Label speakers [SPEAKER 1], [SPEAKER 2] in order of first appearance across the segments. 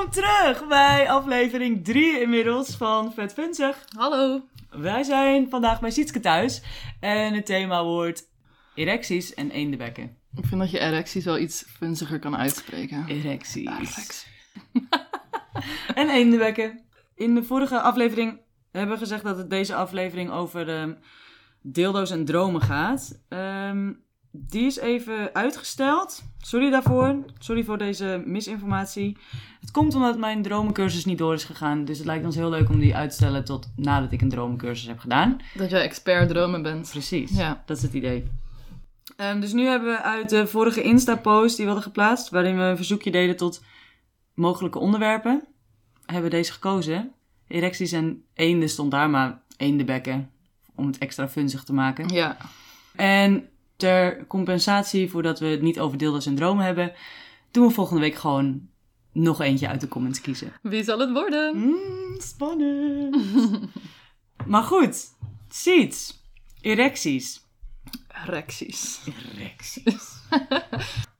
[SPEAKER 1] terug bij aflevering 3 inmiddels van Vet Funzig.
[SPEAKER 2] Hallo.
[SPEAKER 1] Wij zijn vandaag bij Sietske thuis en het thema wordt erecties en eendenbekken.
[SPEAKER 2] Ik vind dat je erecties wel iets funziger kan uitspreken.
[SPEAKER 1] Erecties.
[SPEAKER 2] Erecties.
[SPEAKER 1] en eendenbekken. In de vorige aflevering hebben we gezegd dat het deze aflevering over ehm, dildo's en dromen gaat. Ehm, die is even uitgesteld. Sorry daarvoor. Sorry voor deze misinformatie. Het komt omdat mijn dromencursus niet door is gegaan. Dus het lijkt ons heel leuk om die uit te stellen tot nadat ik een dromencursus heb gedaan.
[SPEAKER 2] Dat jij expert dromen bent.
[SPEAKER 1] Precies.
[SPEAKER 2] Ja.
[SPEAKER 1] Dat is het idee. Ehm, dus nu hebben we uit de vorige Insta-post die we hadden geplaatst, waarin we een verzoekje deden tot mogelijke onderwerpen, hebben we deze gekozen. Erecties en eenden stond daar, maar eendenbekken, om het extra funzig te maken.
[SPEAKER 2] Ja.
[SPEAKER 1] En ter compensatie voordat we het niet over deelden syndromen hebben, doen we volgende week gewoon nog eentje uit de comments kiezen.
[SPEAKER 2] Wie zal het worden?
[SPEAKER 1] Mm, spannend. maar goed, seats, erecties.
[SPEAKER 2] Erecties.
[SPEAKER 1] Erecties.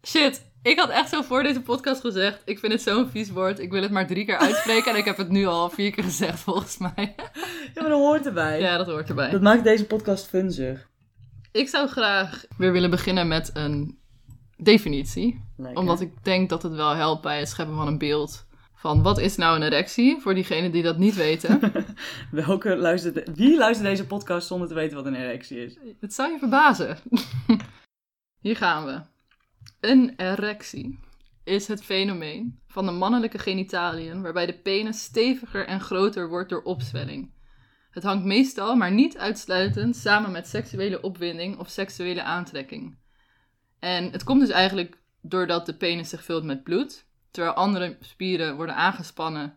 [SPEAKER 2] Shit. Ik had echt zo voor deze podcast gezegd. Ik vind het zo'n vies woord. Ik wil het maar drie keer uitspreken. en ik heb het nu al vier keer gezegd, volgens mij.
[SPEAKER 1] Ja, maar dat hoort erbij.
[SPEAKER 2] ja, dat hoort erbij.
[SPEAKER 1] Dat maakt deze podcast funzig.
[SPEAKER 2] Ik zou graag weer willen beginnen met een definitie. Omdat ik denk dat het wel helpt bij het scheppen van een beeld. Van wat is nou een erectie? Voor diegenen die dat niet weten.
[SPEAKER 1] Welke luistert... Wie luistert deze podcast zonder te weten wat een erectie is?
[SPEAKER 2] Het zou je verbazen. Hier gaan we. Een erectie is het fenomeen van de mannelijke genitaliën waarbij de penis steviger en groter wordt door opzwelling. Het hangt meestal, maar niet uitsluitend, samen met seksuele opwinding of seksuele aantrekking. En het komt dus eigenlijk doordat de penis zich vult met bloed, terwijl andere spieren worden aangespannen,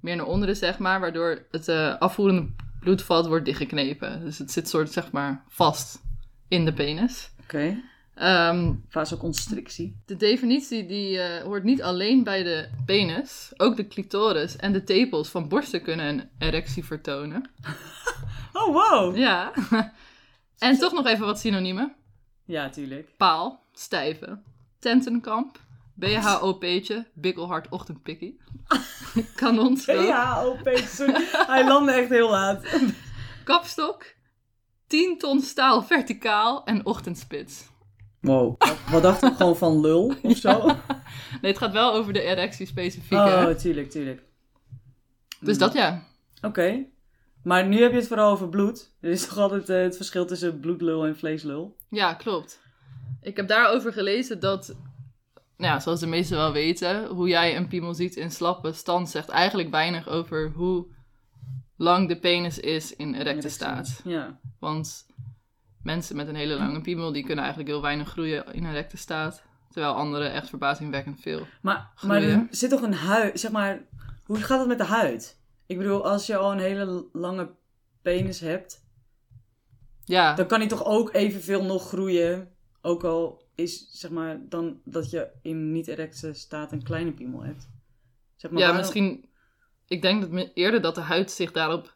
[SPEAKER 2] meer naar onderen zeg maar, waardoor het eh, afvoerende bloedvat wordt dichtgeknepen. Dus het zit soort zeg maar vast in de penis.
[SPEAKER 1] Oké.
[SPEAKER 2] Ehm,
[SPEAKER 1] Vasoconstrictie.
[SPEAKER 2] de definitie die eh, hoort niet alleen bij de penis, ook de clitoris en de tepels van borsten kunnen een erectie vertonen.
[SPEAKER 1] Oh, wow.
[SPEAKER 2] Ja. en toch nog even wat synoniemen.
[SPEAKER 1] Ja, tuurlijk.
[SPEAKER 2] Paal, stijve, tentenkamp, BHOP'tje, bikkelhard ochtendpikkie, kanonstrook,
[SPEAKER 1] Ja, oh, Peter, sorry. Hij landde echt heel laat.
[SPEAKER 2] kapstok, 10 ton staal verticaal en ochtendspits.
[SPEAKER 1] Wow. Wat dacht ik gewoon van lul of zo?
[SPEAKER 2] Nee, het gaat wel over de erectie specifiek, hè?
[SPEAKER 1] Oh, tuurlijk, tuurlijk.
[SPEAKER 2] Dus dat ja.
[SPEAKER 1] Oké. Maar nu heb je het vooral over bloed. Er is toch altijd eh, het verschil tussen bloedlul en vleeslul?
[SPEAKER 2] Ja, klopt. Ik heb daarover gelezen dat, nou ja, zoals de meesten wel weten, hoe jij een piemel ziet in slappe stand zegt eigenlijk weinig over hoe lang de penis is in erecte staat.
[SPEAKER 1] Ja.
[SPEAKER 2] Want mensen met een hele lange piemel, die kunnen eigenlijk heel weinig groeien in erecte staat. Terwijl anderen echt verbazingwekkend veel.
[SPEAKER 1] Maar, maar er
[SPEAKER 2] Groeien.
[SPEAKER 1] zit toch een huid, zeg maar, hoe gaat het met de huid? Ik bedoel, als je al een hele lange penis hebt,
[SPEAKER 2] Ja,
[SPEAKER 1] dan kan die toch ook evenveel nog groeien. Ook al is, zeg maar, dan dat je in niet-erecte staat een kleine piemel hebt. Zeg maar,
[SPEAKER 2] ja
[SPEAKER 1] waarom-
[SPEAKER 2] misschien... Ik denk dat me- eerder dat de huid zich daarop...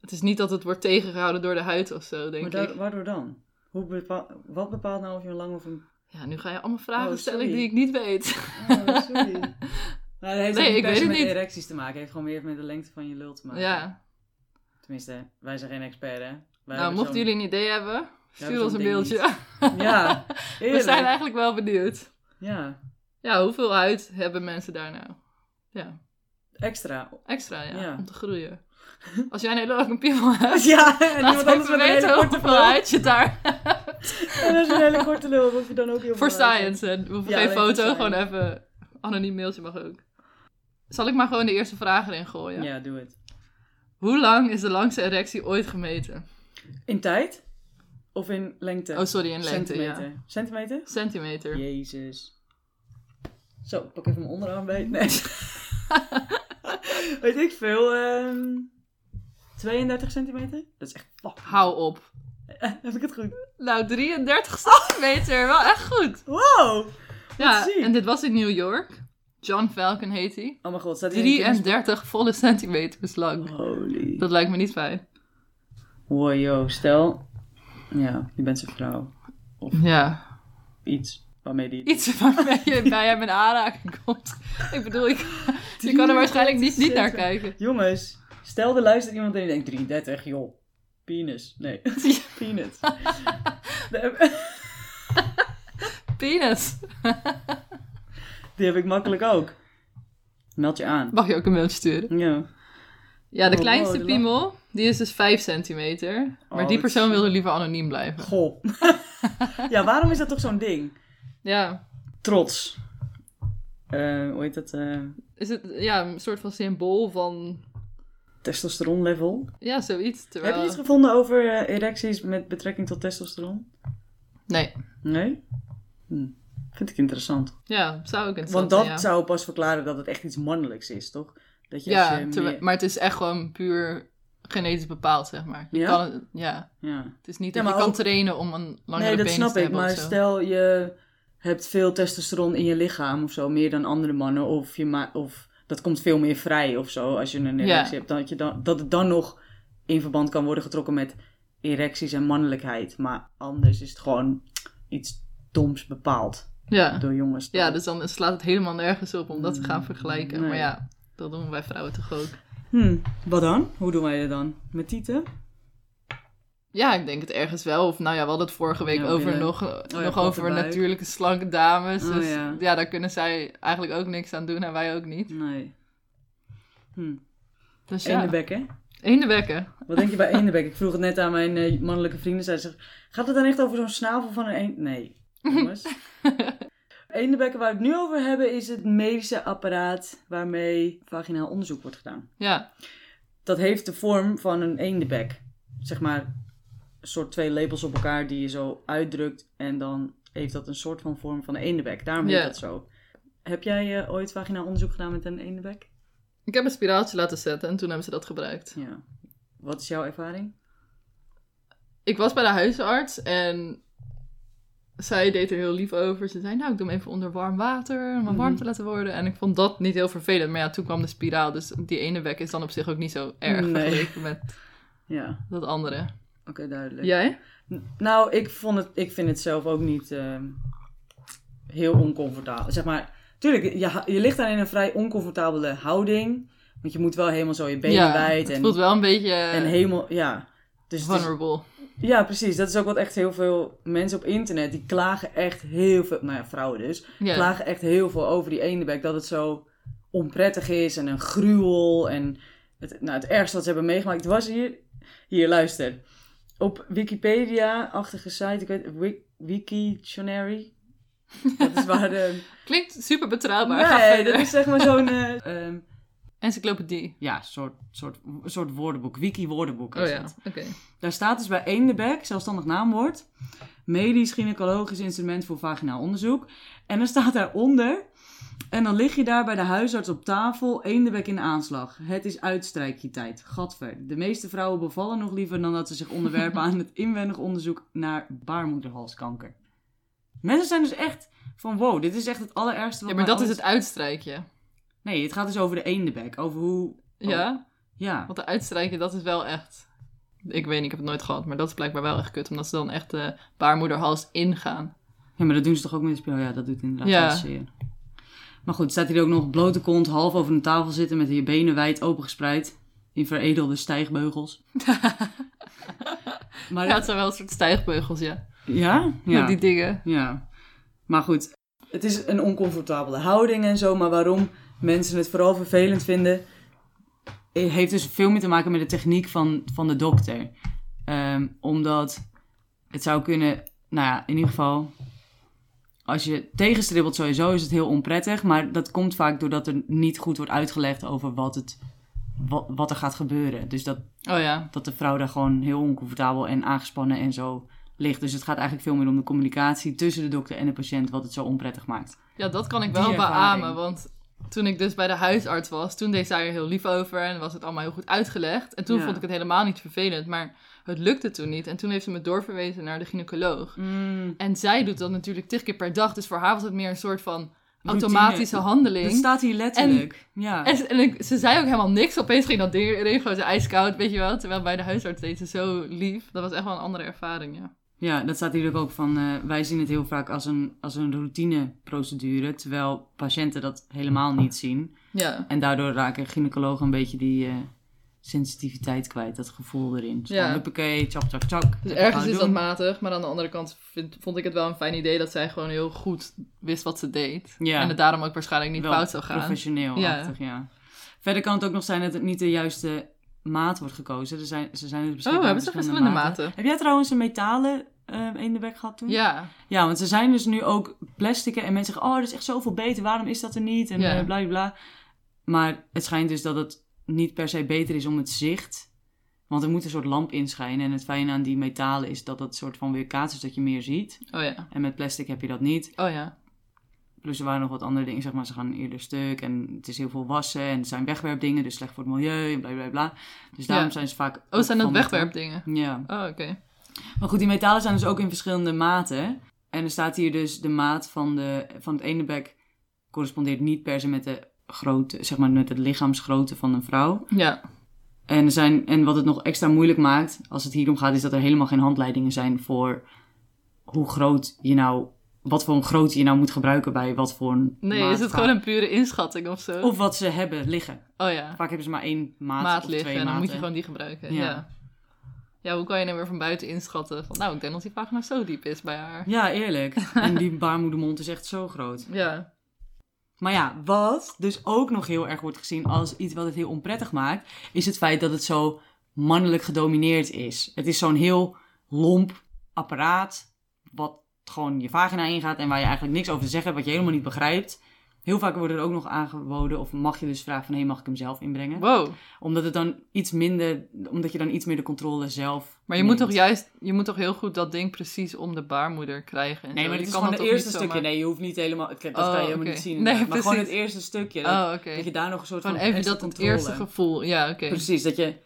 [SPEAKER 2] Het is niet dat het wordt tegengehouden door de huid of zo, denk
[SPEAKER 1] Maar daar-
[SPEAKER 2] ik.
[SPEAKER 1] waardoor dan? Hoe bepaal- wat bepaalt nou of je een lang of een...
[SPEAKER 2] Ja, nu ga je allemaal vragen
[SPEAKER 1] Oh,
[SPEAKER 2] stellen
[SPEAKER 1] sorry.
[SPEAKER 2] die ik niet weet.
[SPEAKER 1] Oh, sorry. nou, dat heeft
[SPEAKER 2] Nee,
[SPEAKER 1] ook niet
[SPEAKER 2] ik
[SPEAKER 1] per
[SPEAKER 2] weet
[SPEAKER 1] se
[SPEAKER 2] het
[SPEAKER 1] met
[SPEAKER 2] niet.
[SPEAKER 1] erecties te maken. Het heeft gewoon meer met de lengte van je lul te maken.
[SPEAKER 2] ja.
[SPEAKER 1] Tenminste, wij zijn geen expert, hè? Wij
[SPEAKER 2] Nou,
[SPEAKER 1] hebben
[SPEAKER 2] mochten
[SPEAKER 1] zo'n-
[SPEAKER 2] jullie een idee hebben, stuur
[SPEAKER 1] zo'n
[SPEAKER 2] ons een
[SPEAKER 1] ding
[SPEAKER 2] beeldje.
[SPEAKER 1] Ja,
[SPEAKER 2] We
[SPEAKER 1] eerlijk.
[SPEAKER 2] zijn eigenlijk wel benieuwd.
[SPEAKER 1] Ja,
[SPEAKER 2] Ja, hoeveel huid hebben mensen daar nou? Ja,
[SPEAKER 1] extra.
[SPEAKER 2] extra ja,
[SPEAKER 1] Ja.
[SPEAKER 2] om te groeien. Als jij een hele lange piemel hebt,
[SPEAKER 1] Ja, en iemand
[SPEAKER 2] laat even
[SPEAKER 1] anders met een hele
[SPEAKER 2] weten
[SPEAKER 1] korte
[SPEAKER 2] hoeveel
[SPEAKER 1] lul.
[SPEAKER 2] huid je daar...
[SPEAKER 1] En als je een hele korte lul hebt, hoef je dan ook heel
[SPEAKER 2] Voor
[SPEAKER 1] veel uit.
[SPEAKER 2] science, hè. We hoeven
[SPEAKER 1] Ja,
[SPEAKER 2] geen
[SPEAKER 1] nee, voor
[SPEAKER 2] foto,
[SPEAKER 1] science.
[SPEAKER 2] gewoon even anoniem mailtje mag ook. Zal ik maar gewoon de eerste vraag erin gooien?
[SPEAKER 1] Ja, doe het.
[SPEAKER 2] Hoe lang is de langste erectie ooit gemeten?
[SPEAKER 1] In tijd? Of in lengte?
[SPEAKER 2] Oh, sorry, in lengte,
[SPEAKER 1] Centimeter.
[SPEAKER 2] ja.
[SPEAKER 1] Centimeter?
[SPEAKER 2] Centimeter.
[SPEAKER 1] Jezus. Zo, pak even mijn onderarm bij. Nee. Weet ik veel. ehm 32 centimeter? Dat is echt fuck.
[SPEAKER 2] Hou op.
[SPEAKER 1] Heb ik het goed?
[SPEAKER 2] Nou, 33 centimeter. Wel echt goed.
[SPEAKER 1] Wow! Oh
[SPEAKER 2] Ja,
[SPEAKER 1] ziek.
[SPEAKER 2] en dit was in New York. John Falcon heet hij.
[SPEAKER 1] Oh mijn god, staat hier een kind-
[SPEAKER 2] 33 volle centimeters lang.
[SPEAKER 1] Holy.
[SPEAKER 2] Dat lijkt me niet fijn.
[SPEAKER 1] Wow, yo, stel. Ja, je bent zijn vrouw.
[SPEAKER 2] Ja.
[SPEAKER 1] Iets. Oké. waarmee die...
[SPEAKER 2] Iets waarmee je bij hem in aanraking komt. Ik bedoel, ik, je kan er waarschijnlijk niet, niet naar kijken.
[SPEAKER 1] Jongens, stel er luistert iemand en die denkt 33, joh. Penis. Nee, peanut. Die heb-
[SPEAKER 2] Penis.
[SPEAKER 1] Die heb ik makkelijk ook. Meld je aan.
[SPEAKER 2] Mag je ook een mailtje sturen?
[SPEAKER 1] Ja.
[SPEAKER 2] Ja, de
[SPEAKER 1] Oh,
[SPEAKER 2] kleinste
[SPEAKER 1] wow, de la-
[SPEAKER 2] piemel, die is dus 5 centimeter. Maar
[SPEAKER 1] Oh,
[SPEAKER 2] die
[SPEAKER 1] dat
[SPEAKER 2] persoon
[SPEAKER 1] is-
[SPEAKER 2] wilde liever anoniem blijven.
[SPEAKER 1] Goh. ja, waarom is dat toch zo'n ding?
[SPEAKER 2] Ja,
[SPEAKER 1] Trots. Eh, hoe heet dat? eh
[SPEAKER 2] is het ja, een soort van symbool van...
[SPEAKER 1] testosteronlevel.
[SPEAKER 2] Ja, zoiets. Terwijl...
[SPEAKER 1] Heb je iets gevonden over eh, erecties met betrekking tot testosteron?
[SPEAKER 2] Nee.
[SPEAKER 1] Nee? Hm. Vind ik interessant.
[SPEAKER 2] Ja, zou ik het
[SPEAKER 1] Want dat
[SPEAKER 2] ja.
[SPEAKER 1] zou pas verklaren dat het echt iets mannelijks is, toch? Dat je als je
[SPEAKER 2] Ja,
[SPEAKER 1] meer-
[SPEAKER 2] terwijl- maar het is echt gewoon puur genetisch bepaald, zeg maar. Je
[SPEAKER 1] Ja?
[SPEAKER 2] Kan het, ja.
[SPEAKER 1] ja.
[SPEAKER 2] het is niet
[SPEAKER 1] Ja,
[SPEAKER 2] dat je
[SPEAKER 1] maar
[SPEAKER 2] kan
[SPEAKER 1] ook-
[SPEAKER 2] trainen om een langere
[SPEAKER 1] Nee, dat
[SPEAKER 2] penis
[SPEAKER 1] snap
[SPEAKER 2] te
[SPEAKER 1] ik.
[SPEAKER 2] hebben
[SPEAKER 1] Maar
[SPEAKER 2] of zo.
[SPEAKER 1] stel je hebt veel testosteron in je lichaam of zo, meer dan andere mannen, of, je ma- of dat komt veel meer vrij of zo als je een
[SPEAKER 2] Ja.
[SPEAKER 1] erectie hebt, dat, je dan, dat het dan nog in verband kan worden getrokken met erecties en mannelijkheid. Maar anders is het gewoon iets doms bepaald
[SPEAKER 2] Ja.
[SPEAKER 1] door jongens.
[SPEAKER 2] ja, dus dan slaat het helemaal nergens op om dat te gaan vergelijken.
[SPEAKER 1] Mm, Nee.
[SPEAKER 2] Maar ja, dat doen wij vrouwen toch ook.
[SPEAKER 1] Hm, wat dan? Hoe doen wij dat dan? Met tieten?
[SPEAKER 2] Ja, ik denk het ergens wel. Of nou ja, we hadden het vorige week
[SPEAKER 1] Ja,
[SPEAKER 2] over
[SPEAKER 1] billen.
[SPEAKER 2] nog,
[SPEAKER 1] ja,
[SPEAKER 2] nog
[SPEAKER 1] platte
[SPEAKER 2] over
[SPEAKER 1] buik.
[SPEAKER 2] natuurlijke slanke dames.
[SPEAKER 1] Oh,
[SPEAKER 2] dus ja.
[SPEAKER 1] ja.
[SPEAKER 2] daar kunnen zij eigenlijk ook niks aan doen en wij ook niet.
[SPEAKER 1] Nee. Hm.
[SPEAKER 2] Dus ja,
[SPEAKER 1] Eendebek, hè?
[SPEAKER 2] eendenbekken.
[SPEAKER 1] Wat denk je bij eendebek? Ik vroeg het net aan mijn eh, mannelijke vrienden. Zij zegt, gaat het dan echt over zo'n snavel van een eend? Nee, jongens. Eendenbekken waar we het nu over hebben is het medische apparaat waarmee vaginaal onderzoek wordt gedaan.
[SPEAKER 2] Ja,
[SPEAKER 1] Dat heeft de vorm van een eendebek. Zeg maar een soort twee lepels op elkaar die je zo uitdrukt en dan heeft dat een soort van vorm van een eendebek. Daarom heet
[SPEAKER 2] Ja.
[SPEAKER 1] dat zo. Heb jij eh, ooit vaginaal onderzoek gedaan met een eendebek?
[SPEAKER 2] ik heb een spiraaltje laten zetten en toen hebben ze dat gebruikt.
[SPEAKER 1] Ja. Wat is jouw ervaring?
[SPEAKER 2] Ik was bij de huisarts en zij deed er heel lief over. Ze zei, nou, ik doe hem even onder warm water om hem warm
[SPEAKER 1] Mhm.
[SPEAKER 2] te laten worden. En ik vond dat niet heel vervelend. Maar ja, toen kwam de spiraal. Dus die ene bek is dan op zich ook niet zo erg
[SPEAKER 1] Nee.
[SPEAKER 2] vergeleken met
[SPEAKER 1] Ja,
[SPEAKER 2] dat andere.
[SPEAKER 1] oké, duidelijk.
[SPEAKER 2] Jij?
[SPEAKER 1] N- Nou, ik, vond het, ik vind het zelf ook niet ehm, heel oncomfortabel. Zeg maar, tuurlijk, je, ha- je ligt daar in een vrij oncomfortabele houding. Want je moet wel helemaal zo je benen wijd
[SPEAKER 2] het
[SPEAKER 1] en,
[SPEAKER 2] voelt wel een beetje eh,
[SPEAKER 1] en helemaal, ja. Dus het is-
[SPEAKER 2] vulnerable.
[SPEAKER 1] ja, precies. Dat is ook wat echt heel veel mensen op internet, die klagen echt heel veel, nou ja, vrouwen dus,
[SPEAKER 2] Ja.
[SPEAKER 1] klagen echt heel veel over die eendebek. Dat het zo onprettig is en een gruwel. En het, nou, het ergste wat ze hebben meegemaakt. Het was hier... Hier, luister. Op Wikipedia-achtige site. Ik weet... Wik, Wiktionary? Dat is waar de...
[SPEAKER 2] Klinkt super betrouwbaar. Ga
[SPEAKER 1] Nee,
[SPEAKER 2] verder.
[SPEAKER 1] dat is zeg maar zo'n... eh, ehm,
[SPEAKER 2] Encyclopedie.
[SPEAKER 1] ja, soort, soort, soort woordenboek. Wiki-woordenboek is
[SPEAKER 2] Oh ja,
[SPEAKER 1] het.
[SPEAKER 2] oké.
[SPEAKER 1] Daar staat dus bij eendebek, zelfstandig naamwoord, medisch gynaecologisch instrument voor vaginaal onderzoek. En dan staat daaronder, en dan lig je daar bij de huisarts op tafel, eendebek in aanslag. Het is uitstrijkje-tijd, gatver. De meeste vrouwen bevallen nog liever dan dat ze zich onderwerpen aan het inwendig onderzoek naar baarmoederhalskanker. Mensen zijn dus echt van, wow, dit is echt het allerergste wat
[SPEAKER 2] Ja, maar
[SPEAKER 1] mij
[SPEAKER 2] dat is
[SPEAKER 1] ooit-
[SPEAKER 2] het uitstrijkje.
[SPEAKER 1] Nee, het gaat dus over de eendebek, over hoe...
[SPEAKER 2] Ja,
[SPEAKER 1] Ja,
[SPEAKER 2] want de uitstrijkje, dat is wel echt... Ik weet niet, ik heb het nooit gehad, maar dat is blijkbaar wel echt kut. Omdat ze dan echt de baarmoederhals ingaan.
[SPEAKER 1] Ja, maar dat doen ze toch ook met een speel? Ja, dat doet inderdaad
[SPEAKER 2] Ja.
[SPEAKER 1] wel zeer. Maar goed, staat hier ook nog blote kont, half over een tafel zitten met je benen wijd opengespreid. In veredelde stijgbeugels. maar
[SPEAKER 2] Ja,
[SPEAKER 1] ja,
[SPEAKER 2] het zijn wel een soort stijgbeugels, ja.
[SPEAKER 1] ja?
[SPEAKER 2] Ja.
[SPEAKER 1] Ja.
[SPEAKER 2] die dingen.
[SPEAKER 1] ja. Maar goed, het is een oncomfortabele houding en zo. Maar waarom mensen het vooral vervelend vinden, eh, heeft dus veel meer te maken met de techniek van, van de dokter. Ehm, omdat het zou kunnen, nou ja, in ieder geval. Als je tegenstribbelt sowieso is het heel onprettig. Maar dat komt vaak doordat er niet goed wordt uitgelegd over wat, het, wat, wat er gaat gebeuren. Dus dat,
[SPEAKER 2] Oh ja.
[SPEAKER 1] dat de vrouw daar gewoon heel oncomfortabel en aangespannen en zo ligt. Dus het gaat eigenlijk veel meer om de communicatie tussen de dokter en de patiënt, wat het zo onprettig maakt.
[SPEAKER 2] Ja, dat kan ik
[SPEAKER 1] Die
[SPEAKER 2] wel
[SPEAKER 1] ervaring.
[SPEAKER 2] beamen, want... Toen ik dus bij de huisarts was, toen deed zij er heel lief over en was het allemaal heel goed uitgelegd. En toen
[SPEAKER 1] Ja.
[SPEAKER 2] vond ik het helemaal niet vervelend, maar het lukte toen niet. En toen heeft ze me doorverwezen naar de gynaecoloog.
[SPEAKER 1] Mm.
[SPEAKER 2] En zij doet dat natuurlijk tig keer per dag. Dus voor haar was het meer een soort van automatische
[SPEAKER 1] Dat
[SPEAKER 2] handeling.
[SPEAKER 1] staat hier letterlijk. ja.
[SPEAKER 2] En, ze- en ik- ze zei ook helemaal niks. Opeens ging dat ding erin, gewoon zo ijskoud, weet je wel. Terwijl bij de huisarts deed ze zo lief. Dat was echt wel een andere ervaring, ja.
[SPEAKER 1] Ja, dat staat hier ook ook van. eh, wij zien het heel vaak als een, als een routineprocedure, terwijl patiënten dat helemaal niet zien.
[SPEAKER 2] Ja,
[SPEAKER 1] En daardoor raken gynaecologen een beetje die eh, sensitiviteit kwijt, dat gevoel erin. Zo,
[SPEAKER 2] Ja.
[SPEAKER 1] huppakee, chap, chap, chap.
[SPEAKER 2] dus
[SPEAKER 1] Dat gaan
[SPEAKER 2] ergens
[SPEAKER 1] we
[SPEAKER 2] is dat
[SPEAKER 1] doen.
[SPEAKER 2] matig. Maar aan de andere kant vind- vond ik het wel een fijn idee dat zij gewoon heel goed wist wat ze deed.
[SPEAKER 1] Ja.
[SPEAKER 2] En het daarom ook waarschijnlijk niet
[SPEAKER 1] Wel
[SPEAKER 2] fout zou gaan.
[SPEAKER 1] professioneel
[SPEAKER 2] Ja.
[SPEAKER 1] achtig, ja. Verder kan het ook nog zijn dat het niet de juiste maat wordt gekozen. Er zijn, ze zijn dus beschikbaar
[SPEAKER 2] Oh, hebben
[SPEAKER 1] met
[SPEAKER 2] ze verschillende maten?
[SPEAKER 1] Heb jij trouwens een metalen eh in de bek gehad toen?
[SPEAKER 2] Ja,
[SPEAKER 1] Ja, want er zijn dus nu ook plasticen en mensen zeggen, oh, dat is echt zoveel beter, waarom is dat er niet? En
[SPEAKER 2] Ja.
[SPEAKER 1] eh, bla bla bla. Maar het schijnt dus dat het niet per se beter is om het zicht, want er moet een soort lamp inschijnen. En het fijne aan die metalen is dat dat soort van weerkaats is dat je meer ziet.
[SPEAKER 2] oh ja,
[SPEAKER 1] En met plastic heb je dat niet.
[SPEAKER 2] oh ja.
[SPEAKER 1] Plus er waren nog wat andere dingen, zeg maar, ze gaan eerder stuk en het is heel veel wassen en het zijn wegwerpdingen, dus slecht voor het milieu en bla bla bla. Dus daarom
[SPEAKER 2] Ja.
[SPEAKER 1] zijn ze vaak...
[SPEAKER 2] Oh, zijn dat
[SPEAKER 1] van metaal.
[SPEAKER 2] wegwerpdingen?
[SPEAKER 1] Ja.
[SPEAKER 2] Oh, oké.
[SPEAKER 1] Maar goed, die metalen zijn dus ook in verschillende maten. En er staat hier dus de maat van, de, van het ene bek correspondeert niet per se met de grootte, zeg maar met het lichaamsgrootte van een vrouw.
[SPEAKER 2] Ja,
[SPEAKER 1] En, er zijn, en wat het nog extra moeilijk maakt, als het hier om gaat, is dat er helemaal geen handleidingen zijn voor hoe groot je nou, wat voor een grootte je nou moet gebruiken bij wat voor een
[SPEAKER 2] nee,
[SPEAKER 1] maat
[SPEAKER 2] is het
[SPEAKER 1] vaak.
[SPEAKER 2] gewoon een pure inschatting of zo?
[SPEAKER 1] Of wat ze hebben liggen.
[SPEAKER 2] oh ja,
[SPEAKER 1] Vaak hebben ze maar één maat,
[SPEAKER 2] maat
[SPEAKER 1] of twee
[SPEAKER 2] liggen en dan
[SPEAKER 1] maten.
[SPEAKER 2] moet je gewoon die gebruiken.
[SPEAKER 1] Ja.
[SPEAKER 2] Ja. ja. hoe kan je nou weer van buiten inschatten van, nou, ik denk dat die vagina zo diep is bij haar.
[SPEAKER 1] Ja, eerlijk. en die baarmoedermond is echt zo groot.
[SPEAKER 2] Ja,
[SPEAKER 1] Maar ja, wat dus ook nog heel erg wordt gezien als iets wat het heel onprettig maakt, is het feit dat het zo mannelijk gedomineerd is. Het is zo'n heel lomp apparaat, wat gewoon je vagina ingaat en waar je eigenlijk niks over te zeggen hebt, wat je helemaal niet begrijpt. Heel vaak wordt er ook nog aangeboden, of mag je dus vragen van, hé, mag ik hem zelf inbrengen?
[SPEAKER 2] wow.
[SPEAKER 1] Omdat het dan iets minder, omdat je dan iets meer de controle zelf
[SPEAKER 2] Maar je moet
[SPEAKER 1] neemt.
[SPEAKER 2] toch juist, je moet toch heel goed dat ding precies om de baarmoeder krijgen. en
[SPEAKER 1] Nee,
[SPEAKER 2] zo.
[SPEAKER 1] maar
[SPEAKER 2] Je
[SPEAKER 1] het is
[SPEAKER 2] kan
[SPEAKER 1] gewoon
[SPEAKER 2] dat
[SPEAKER 1] het
[SPEAKER 2] toch
[SPEAKER 1] eerste
[SPEAKER 2] niet
[SPEAKER 1] stukje.
[SPEAKER 2] zomaar-
[SPEAKER 1] Nee, je hoeft niet helemaal... Dat kan je
[SPEAKER 2] Oh,
[SPEAKER 1] helemaal
[SPEAKER 2] oké.
[SPEAKER 1] niet zien.
[SPEAKER 2] Nee,
[SPEAKER 1] inderdaad. maar gewoon het
[SPEAKER 2] precies.
[SPEAKER 1] eerste stukje. dat-
[SPEAKER 2] Oh, oké.
[SPEAKER 1] Dat je daar nog een soort
[SPEAKER 2] Gewoon
[SPEAKER 1] van
[SPEAKER 2] even
[SPEAKER 1] extra
[SPEAKER 2] dat het
[SPEAKER 1] controle.
[SPEAKER 2] eerste gevoel. Ja, oké.
[SPEAKER 1] Precies, dat je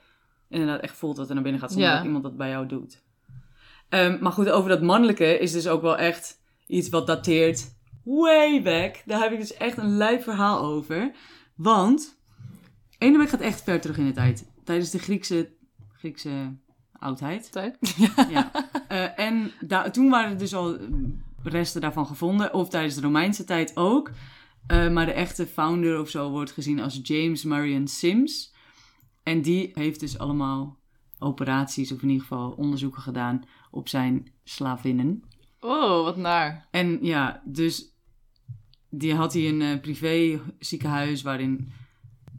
[SPEAKER 1] inderdaad echt voelt wat er naar binnen gaat zonder
[SPEAKER 2] Ja.
[SPEAKER 1] dat iemand dat bij jou doet. Ehm, maar goed, over dat mannelijke is dus ook wel echt iets wat dateert way back. Daar heb ik dus echt een lijp verhaal over. Want Enemek gaat echt ver terug in de tijd. Tijdens de Griekse, Griekse oudheid.
[SPEAKER 2] Tijd?
[SPEAKER 1] Ja. Eh, en da- toen waren er dus al eh, resten daarvan gevonden, of tijdens de Romeinse tijd ook. Eh, maar de echte founder of zo wordt gezien als James Marion Sims. En die heeft dus allemaal operaties, of in ieder geval onderzoeken gedaan op zijn slavinnen.
[SPEAKER 2] Oh, wat naar.
[SPEAKER 1] En ja, dus die had hij een eh, privé ziekenhuis waarin,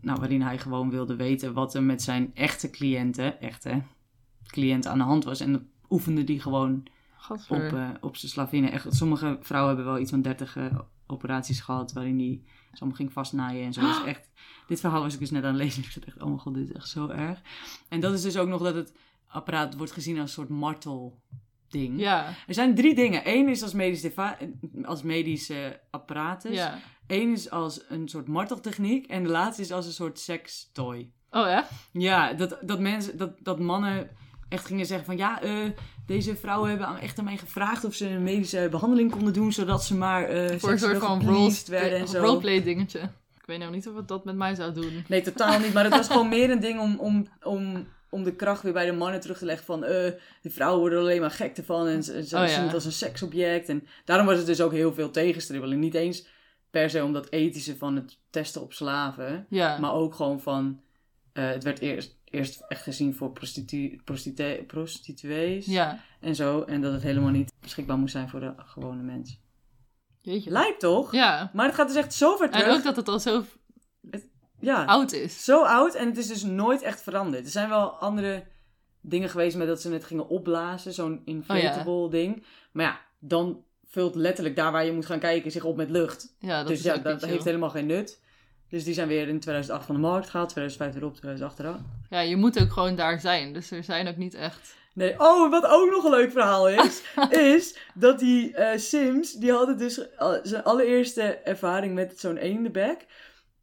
[SPEAKER 1] nou, waarin hij gewoon wilde weten wat er met zijn echte cliënten, echte cliënten aan de hand was. En dat oefende die gewoon op,
[SPEAKER 2] Gadver.
[SPEAKER 1] eh, op zijn slavinnen. Echt, sommige vrouwen hebben wel iets van 30 eh, operaties gehad waarin die ze allemaal ging vastnaaien en zo. Dus echt, dit verhaal was ik dus net aan het lezen. Ik dacht echt, oh mijn god, dit is echt zo erg. En dat is dus ook nog dat het apparaat wordt gezien als een soort martelding.
[SPEAKER 2] ja,
[SPEAKER 1] Er zijn drie dingen. Eén is als medisch, deva- als medische apparatus.
[SPEAKER 2] ja.
[SPEAKER 1] Eén is als een soort marteltechniek. En de laatste is als een soort sekstooi.
[SPEAKER 2] Oh, echt?
[SPEAKER 1] Ja, dat, dat, mensen, dat, dat mannen echt gingen zeggen van... Ja, eh, deze vrouwen hebben aan- echt aan mij gevraagd of ze een medische behandeling konden doen... zodat ze maar eh
[SPEAKER 2] Voor een soort
[SPEAKER 1] seksueel
[SPEAKER 2] van
[SPEAKER 1] gepleased
[SPEAKER 2] role-
[SPEAKER 1] werden en zo.
[SPEAKER 2] roleplay dingetje. Ik weet nou niet of het dat met mij zou doen.
[SPEAKER 1] Nee, totaal niet. Maar het was gewoon meer een ding om, om, om, om de kracht weer bij de mannen terug te leggen van... eh de vrouwen worden er alleen maar gek ervan en ze, ze
[SPEAKER 2] Oh,
[SPEAKER 1] zien
[SPEAKER 2] ja.
[SPEAKER 1] het als een seksobject. En daarom was het dus ook heel veel tegenstribbelen. Niet eens per se om dat ethische van het testen op slaven...
[SPEAKER 2] Ja.
[SPEAKER 1] Maar ook gewoon van. eh, het werd eerst, eerst echt gezien voor prostitu prostitue- prostituees
[SPEAKER 2] ja.
[SPEAKER 1] en zo. En dat het helemaal niet beschikbaar moest zijn voor de gewone mens.
[SPEAKER 2] Jeetje.
[SPEAKER 1] Lijkt toch?
[SPEAKER 2] Ja.
[SPEAKER 1] Maar het gaat dus echt zo ver terug.
[SPEAKER 2] En ook dat het al zo
[SPEAKER 1] ja,
[SPEAKER 2] oud is.
[SPEAKER 1] zo oud en het is dus nooit echt veranderd. Er zijn wel andere dingen geweest met dat ze het gingen opblazen. Zo'n
[SPEAKER 2] Oh
[SPEAKER 1] inflatable ding. Maar ja, dan vult letterlijk daar waar je moet gaan kijken zich op met lucht.
[SPEAKER 2] Ja, dat
[SPEAKER 1] dus
[SPEAKER 2] is
[SPEAKER 1] ja,
[SPEAKER 2] ook
[SPEAKER 1] dat
[SPEAKER 2] niet chill.
[SPEAKER 1] heeft helemaal geen nut. Dus die zijn weer in 2008 van de markt gehaald. 2005 weer op, 2008 eraf.
[SPEAKER 2] Ja, je moet ook gewoon daar zijn. Dus er zijn ook niet echt...
[SPEAKER 1] Nee, oh, wat ook nog een leuk verhaal is, is dat die eh, Sims, die hadden dus al- zijn allereerste ervaring met zo'n eendenbek,